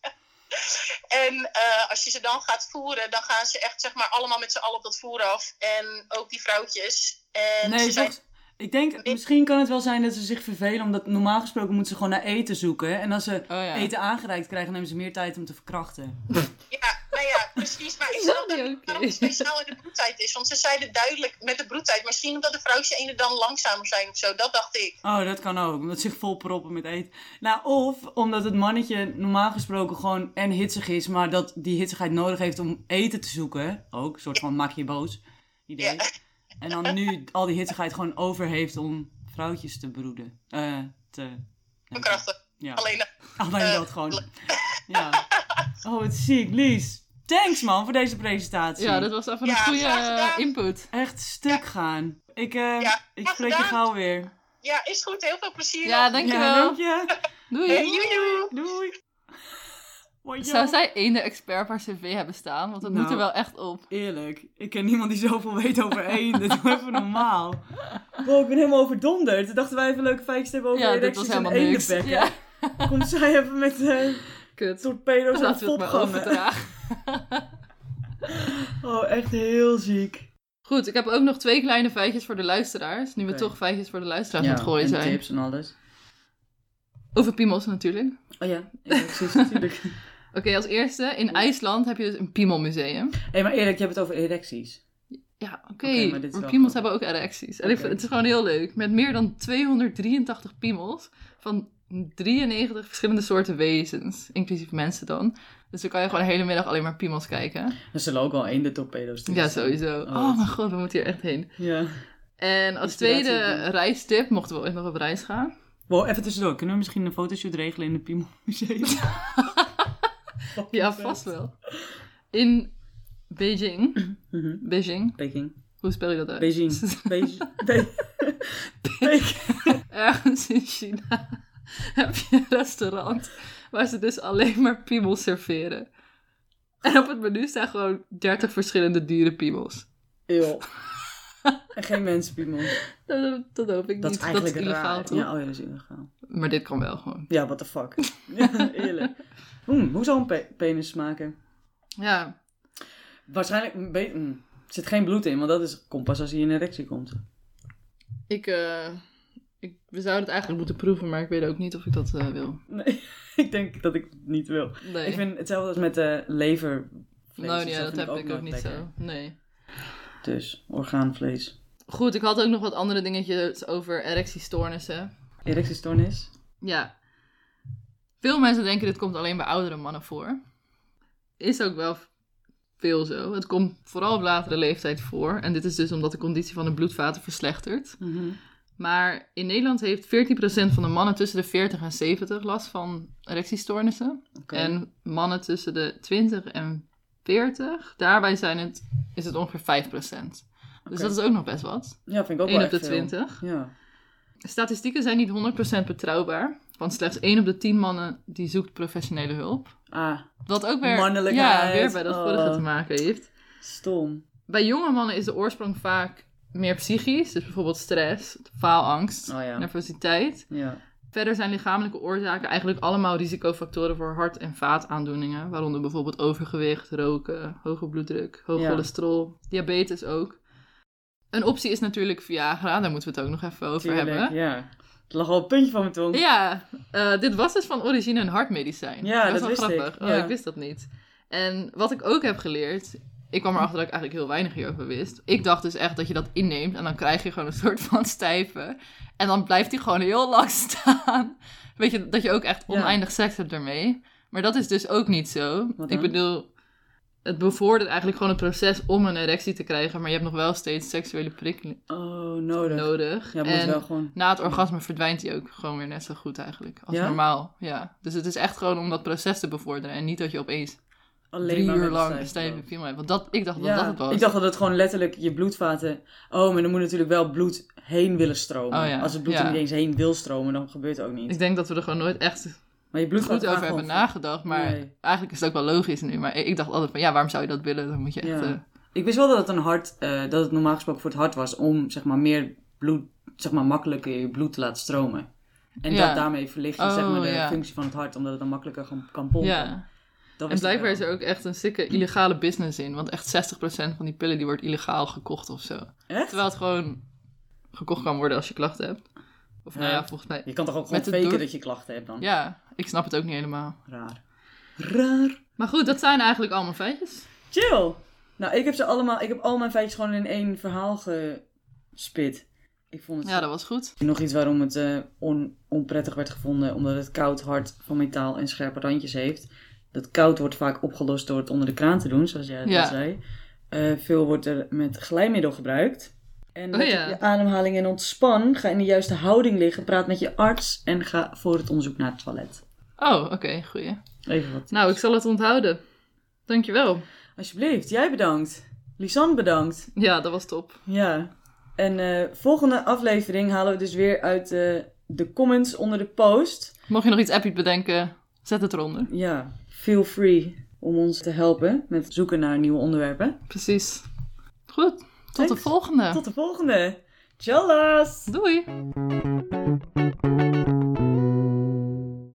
[SPEAKER 3] En eh, als je ze dan gaat voeren, dan gaan ze echt zeg maar allemaal met z'n allen op dat voer af. En ook die vrouwtjes. En
[SPEAKER 1] Nee,
[SPEAKER 3] ze zijn
[SPEAKER 1] toch- ik denk, misschien kan het wel zijn dat ze zich vervelen, omdat normaal gesproken moeten ze gewoon naar eten zoeken. En als ze
[SPEAKER 2] Oh ja.
[SPEAKER 1] eten aangereikt krijgen, nemen ze meer tijd om te verkrachten.
[SPEAKER 3] Ja, nou ja, precies. Maar ik
[SPEAKER 2] Dat is
[SPEAKER 3] snap
[SPEAKER 2] niet
[SPEAKER 3] dat het
[SPEAKER 2] oké.
[SPEAKER 3] waarom het speciaal in de broedtijd is. Want ze zeiden duidelijk met de broedtijd. Misschien omdat de vrouwtjes ene dan langzamer zijn of zo. Dat dacht ik.
[SPEAKER 1] Oh, dat kan ook, omdat ze zich vol proppen met eten. Nou, of omdat het mannetje normaal gesproken gewoon en hitsig is, maar dat die hitsigheid nodig heeft om eten te zoeken. Ook, een soort van maak je boos idee.
[SPEAKER 3] Ja.
[SPEAKER 1] En dan nu al die hitsigheid gewoon over heeft om vrouwtjes te broeden. Eh, te...
[SPEAKER 3] Verkrachten.
[SPEAKER 1] Ja.
[SPEAKER 3] Alleen dat.
[SPEAKER 1] Alleen
[SPEAKER 3] Eh,
[SPEAKER 1] dat gewoon. Ja. Oh, wat ziek. Lies, thanks man voor deze presentatie.
[SPEAKER 2] Ja, dat was even een
[SPEAKER 3] Ja,
[SPEAKER 2] goede
[SPEAKER 3] graag gedaan.
[SPEAKER 2] eh, input.
[SPEAKER 1] Echt stuk gaan. Ik, eh,
[SPEAKER 3] Ja,
[SPEAKER 1] ik
[SPEAKER 3] graag
[SPEAKER 1] spreek je
[SPEAKER 3] gedaan.
[SPEAKER 1] gauw weer.
[SPEAKER 3] Ja, is goed. Heel veel plezier.
[SPEAKER 2] Ja,
[SPEAKER 3] nog.
[SPEAKER 1] Ja,
[SPEAKER 2] dankjewel.
[SPEAKER 1] dank je.
[SPEAKER 3] Hey,
[SPEAKER 2] Doei.
[SPEAKER 3] joe, joe.
[SPEAKER 1] Doei. Hoi,
[SPEAKER 2] Zou
[SPEAKER 1] joh.
[SPEAKER 2] zij één expert per cv hebben staan? Want dat
[SPEAKER 1] Nou.
[SPEAKER 2] moet er wel echt op.
[SPEAKER 1] Eerlijk, ik ken niemand die zoveel weet over eenden. Doe even normaal. Wow, ik ben helemaal overdonderd. Toen dachten wij even leuke feitjes te hebben over
[SPEAKER 2] ja, dat was
[SPEAKER 1] erecties en
[SPEAKER 2] helemaal niks.
[SPEAKER 1] eendenbekken.
[SPEAKER 2] Ja,
[SPEAKER 1] Komt zij even met eh,
[SPEAKER 2] kut.
[SPEAKER 1] torpedo's aan
[SPEAKER 2] Laten we het maar
[SPEAKER 1] het
[SPEAKER 2] overdragen.
[SPEAKER 1] Oh, echt heel ziek.
[SPEAKER 2] Goed, ik heb ook nog twee kleine feitjes voor de luisteraars. Nu we
[SPEAKER 1] Oké.
[SPEAKER 2] toch feitjes voor de luisteraars aan het gooien zijn.
[SPEAKER 1] en alles.
[SPEAKER 2] Over piemels natuurlijk.
[SPEAKER 1] Oh ja, ja precies, natuurlijk.
[SPEAKER 2] Oké, als eerste. In IJsland heb je dus een piemelmuseum.
[SPEAKER 1] Hé, maar Erik, je hebt het over erecties.
[SPEAKER 2] Ja, oké.
[SPEAKER 1] Oké, maar
[SPEAKER 2] maar
[SPEAKER 1] dit is wel
[SPEAKER 2] piemels
[SPEAKER 1] grappig.
[SPEAKER 2] hebben ook erecties. En ik
[SPEAKER 1] Oké.
[SPEAKER 2] vind, het is gewoon heel leuk. Met meer dan 283 piemels van 93 verschillende soorten wezens. Inclusief mensen dan. Dus dan kan je gewoon de hele middag alleen maar piemels kijken.
[SPEAKER 1] Dus Er zullen ook wel één de torpedo's tussen
[SPEAKER 2] Ja,
[SPEAKER 1] zijn.
[SPEAKER 2] sowieso.
[SPEAKER 1] Oh,
[SPEAKER 2] Oh
[SPEAKER 1] wat-
[SPEAKER 2] mijn god, we moeten hier echt heen.
[SPEAKER 1] Ja.
[SPEAKER 2] En als
[SPEAKER 1] Inspiratie
[SPEAKER 2] tweede
[SPEAKER 1] opdoen.
[SPEAKER 2] reistip, mochten we ooit nog op reis gaan.
[SPEAKER 1] Wow, even tussendoor. Kunnen we misschien een fotoshoot regelen in het Piemel Museum?
[SPEAKER 2] Ja, vast wel. In Beijing.
[SPEAKER 1] Mhm.
[SPEAKER 2] Beijing.
[SPEAKER 1] Peking.
[SPEAKER 2] Hoe spel je dat uit?
[SPEAKER 1] Beijing. Beijing. Be- Peking.
[SPEAKER 2] ergens in China heb je een restaurant waar ze dus alleen maar piemels serveren. En op het menu staan gewoon 30 verschillende dure piemels.
[SPEAKER 1] Eeuw. En geen mensenpiemel.
[SPEAKER 2] Dat, dat hoop ik
[SPEAKER 1] Dat is
[SPEAKER 2] niet.
[SPEAKER 1] eigenlijk
[SPEAKER 2] dat is illegaal,
[SPEAKER 1] raar.
[SPEAKER 2] toch?
[SPEAKER 1] Ja, oh ja, dat is illegaal.
[SPEAKER 2] Maar dit kan wel gewoon.
[SPEAKER 1] Ja, what the fuck. Eerlijk. Mm, hoe zou een pe- penis smaken?
[SPEAKER 2] Ja,
[SPEAKER 1] Waarschijnlijk een beetje... mm, Er zit geen bloed in, want dat is kompas als hij in een erectie komt.
[SPEAKER 2] ik, eh, ik... We zouden het eigenlijk moeten proeven, maar ik weet ook niet of ik dat eh, wil.
[SPEAKER 1] Nee, ik denk dat ik het niet wil.
[SPEAKER 2] Nee.
[SPEAKER 1] Ik vind hetzelfde als met eh Dus lever.
[SPEAKER 2] nou ja, dat heb ik ook niet zo. Nee.
[SPEAKER 1] Dus, orgaanvlees.
[SPEAKER 2] Goed, ik had ook nog wat andere dingetjes over erectiestoornissen.
[SPEAKER 1] Erectiestoornis?
[SPEAKER 2] Ja. Veel mensen denken dit komt alleen bij oudere mannen voor. Is ook wel veel zo. Het komt vooral op latere leeftijd voor. En dit is dus omdat de conditie van de bloedvaten verslechtert. Maar in Nederland heeft 14% van de mannen tussen de 40 en 70 last van erectiestoornissen.
[SPEAKER 1] Oké.
[SPEAKER 2] En mannen tussen de 20 en 40, daarbij zijn het, is het ongeveer 5%. Dus
[SPEAKER 1] Oké.
[SPEAKER 2] dat is ook nog best wat.
[SPEAKER 1] Ja, vind ik ook wel
[SPEAKER 2] 1 op de
[SPEAKER 1] echt veel.
[SPEAKER 2] 20.
[SPEAKER 1] Ja.
[SPEAKER 2] Statistieken zijn niet 100% betrouwbaar, want slechts 1 op de 10 mannen die zoekt professionele hulp.
[SPEAKER 1] Ah,
[SPEAKER 2] Wat ook weer, ja,
[SPEAKER 1] Mannelijkheid,
[SPEAKER 2] weer bij dat
[SPEAKER 1] oh.
[SPEAKER 2] vorige te maken heeft.
[SPEAKER 1] stom.
[SPEAKER 2] Bij jonge mannen is de oorsprong vaak meer psychisch, dus bijvoorbeeld stress, faalangst,
[SPEAKER 1] Oh ja.
[SPEAKER 2] nervositeit.
[SPEAKER 1] Ja.
[SPEAKER 2] Verder zijn lichamelijke oorzaken eigenlijk allemaal risicofactoren voor hart- en vaataandoeningen, waaronder bijvoorbeeld overgewicht, roken, hoge bloeddruk, hoog
[SPEAKER 1] Ja.
[SPEAKER 2] cholesterol, diabetes ook. Een optie is natuurlijk Viagra, daar moeten we het ook nog even over
[SPEAKER 1] Tuurlijk,
[SPEAKER 2] hebben.
[SPEAKER 1] ja. Het lag al een puntje van mijn tong.
[SPEAKER 2] Ja, eh, dit was dus van origine een hartmedicijn.
[SPEAKER 1] Ja, dat
[SPEAKER 2] wel
[SPEAKER 1] wist ik,
[SPEAKER 2] grappig.
[SPEAKER 1] ja.
[SPEAKER 2] Oh, ik wist dat niet. En wat ik ook heb geleerd, ik kwam erachter dat ik eigenlijk heel weinig hierover wist. Ik dacht dus echt dat je dat inneemt en dan krijg je gewoon een soort van stijve. En dan blijft die gewoon heel lang staan. Weet je, dat je ook echt
[SPEAKER 1] Ja.
[SPEAKER 2] oneindig seks hebt ermee. Maar dat is dus ook niet zo.
[SPEAKER 1] Wat
[SPEAKER 2] Ik
[SPEAKER 1] dan?
[SPEAKER 2] bedoel, het bevordert eigenlijk gewoon het proces om een erectie te krijgen. Maar je hebt nog wel steeds seksuele prikkeling
[SPEAKER 1] Oh, nodig.
[SPEAKER 2] nodig.
[SPEAKER 1] Ja, moet
[SPEAKER 2] en
[SPEAKER 1] wel gewoon...
[SPEAKER 2] na het orgasme verdwijnt hij ook gewoon weer net zo goed eigenlijk. Als
[SPEAKER 1] Ja?
[SPEAKER 2] normaal, ja. Dus het is echt gewoon om dat proces te bevorderen. En niet dat je opeens
[SPEAKER 1] Alleen
[SPEAKER 2] drie
[SPEAKER 1] maar
[SPEAKER 2] uur
[SPEAKER 1] met de
[SPEAKER 2] lang een
[SPEAKER 1] stijf
[SPEAKER 2] stijve
[SPEAKER 1] erop.
[SPEAKER 2] piemel hebt. Want dat, ik dacht dat dat
[SPEAKER 1] Ja,
[SPEAKER 2] het was.
[SPEAKER 1] ik dacht dat het gewoon letterlijk je bloedvaten... Oh, maar dan moet natuurlijk wel bloed heen willen stromen.
[SPEAKER 2] Oh ja,
[SPEAKER 1] Als het bloed
[SPEAKER 2] ja.
[SPEAKER 1] er niet eens heen wil stromen, dan gebeurt het ook niet.
[SPEAKER 2] Ik denk dat we er gewoon nooit echt
[SPEAKER 1] Maar je bloedvaten
[SPEAKER 2] goed
[SPEAKER 1] gaan
[SPEAKER 2] over hebben
[SPEAKER 1] gewoon-
[SPEAKER 2] nagedacht. Maar
[SPEAKER 1] Nee.
[SPEAKER 2] eigenlijk is het ook wel logisch nu. Maar ik dacht altijd van, ja, waarom zou je dat willen? Dan moet je echt...
[SPEAKER 1] Ja.
[SPEAKER 2] eh,
[SPEAKER 1] Ik wist wel dat het een hart, eh, dat het normaal gesproken voor het hart was om zeg maar meer bloed, zeg maar makkelijker je bloed te laten stromen. En
[SPEAKER 2] Ja.
[SPEAKER 1] dat daarmee verlicht je zeg
[SPEAKER 2] Oh,
[SPEAKER 1] maar de
[SPEAKER 2] ja.
[SPEAKER 1] functie van het hart, omdat het dan makkelijker kan, kan pompen.
[SPEAKER 2] ja.
[SPEAKER 1] Dat
[SPEAKER 2] En
[SPEAKER 1] wist ik
[SPEAKER 2] blijkbaar
[SPEAKER 1] wel.
[SPEAKER 2] is er ook echt een sikke illegale business in. Want echt 60% van die pillen die wordt illegaal gekocht of zo.
[SPEAKER 1] Echt?
[SPEAKER 2] Terwijl het gewoon gekocht kan worden als je klachten hebt. Of nou
[SPEAKER 1] Ja.
[SPEAKER 2] ja, volgens mij...
[SPEAKER 1] Je kan toch ook gewoon
[SPEAKER 2] Met het
[SPEAKER 1] faken
[SPEAKER 2] door-
[SPEAKER 1] dat je klachten hebt dan?
[SPEAKER 2] Ja, ik snap het ook niet helemaal.
[SPEAKER 1] Raar. Raar.
[SPEAKER 2] Maar goed, dat zijn eigenlijk allemaal feitjes.
[SPEAKER 1] Chill! Nou, ik heb ze allemaal, ik heb al mijn feitjes gewoon in één verhaal gespit. Ik vond het
[SPEAKER 2] Ja, dat was goed.
[SPEAKER 1] Nog iets waarom het eh, on- onprettig werd gevonden, omdat het koud hard van metaal en scherpe randjes heeft. Dat koud wordt vaak opgelost door het onder de kraan te doen, zoals jij dat
[SPEAKER 2] Ja.
[SPEAKER 1] zei. Eh, veel wordt er met glijmiddel gebruikt. En
[SPEAKER 2] Oh
[SPEAKER 1] met
[SPEAKER 2] ja.
[SPEAKER 1] je ademhaling en ontspan, ga in de juiste houding liggen, praat met je arts en ga voor het onderzoek naar het toilet.
[SPEAKER 2] Oh, oké, goeie.
[SPEAKER 1] Even wat.
[SPEAKER 2] Nou, ik zal het onthouden. Dankjewel.
[SPEAKER 1] Alsjeblieft, jij bedankt. Lisanne bedankt.
[SPEAKER 2] Ja, dat was top.
[SPEAKER 1] Ja. En eh, volgende aflevering halen we dus weer uit eh, de comments onder de post.
[SPEAKER 2] Mocht je nog iets epic bedenken, zet het eronder.
[SPEAKER 1] Ja, feel free om ons te helpen met zoeken naar nieuwe onderwerpen.
[SPEAKER 2] Precies. Goed, tot
[SPEAKER 1] Thanks.
[SPEAKER 2] de volgende.
[SPEAKER 1] Tot de volgende. Tjallas!
[SPEAKER 2] Doei.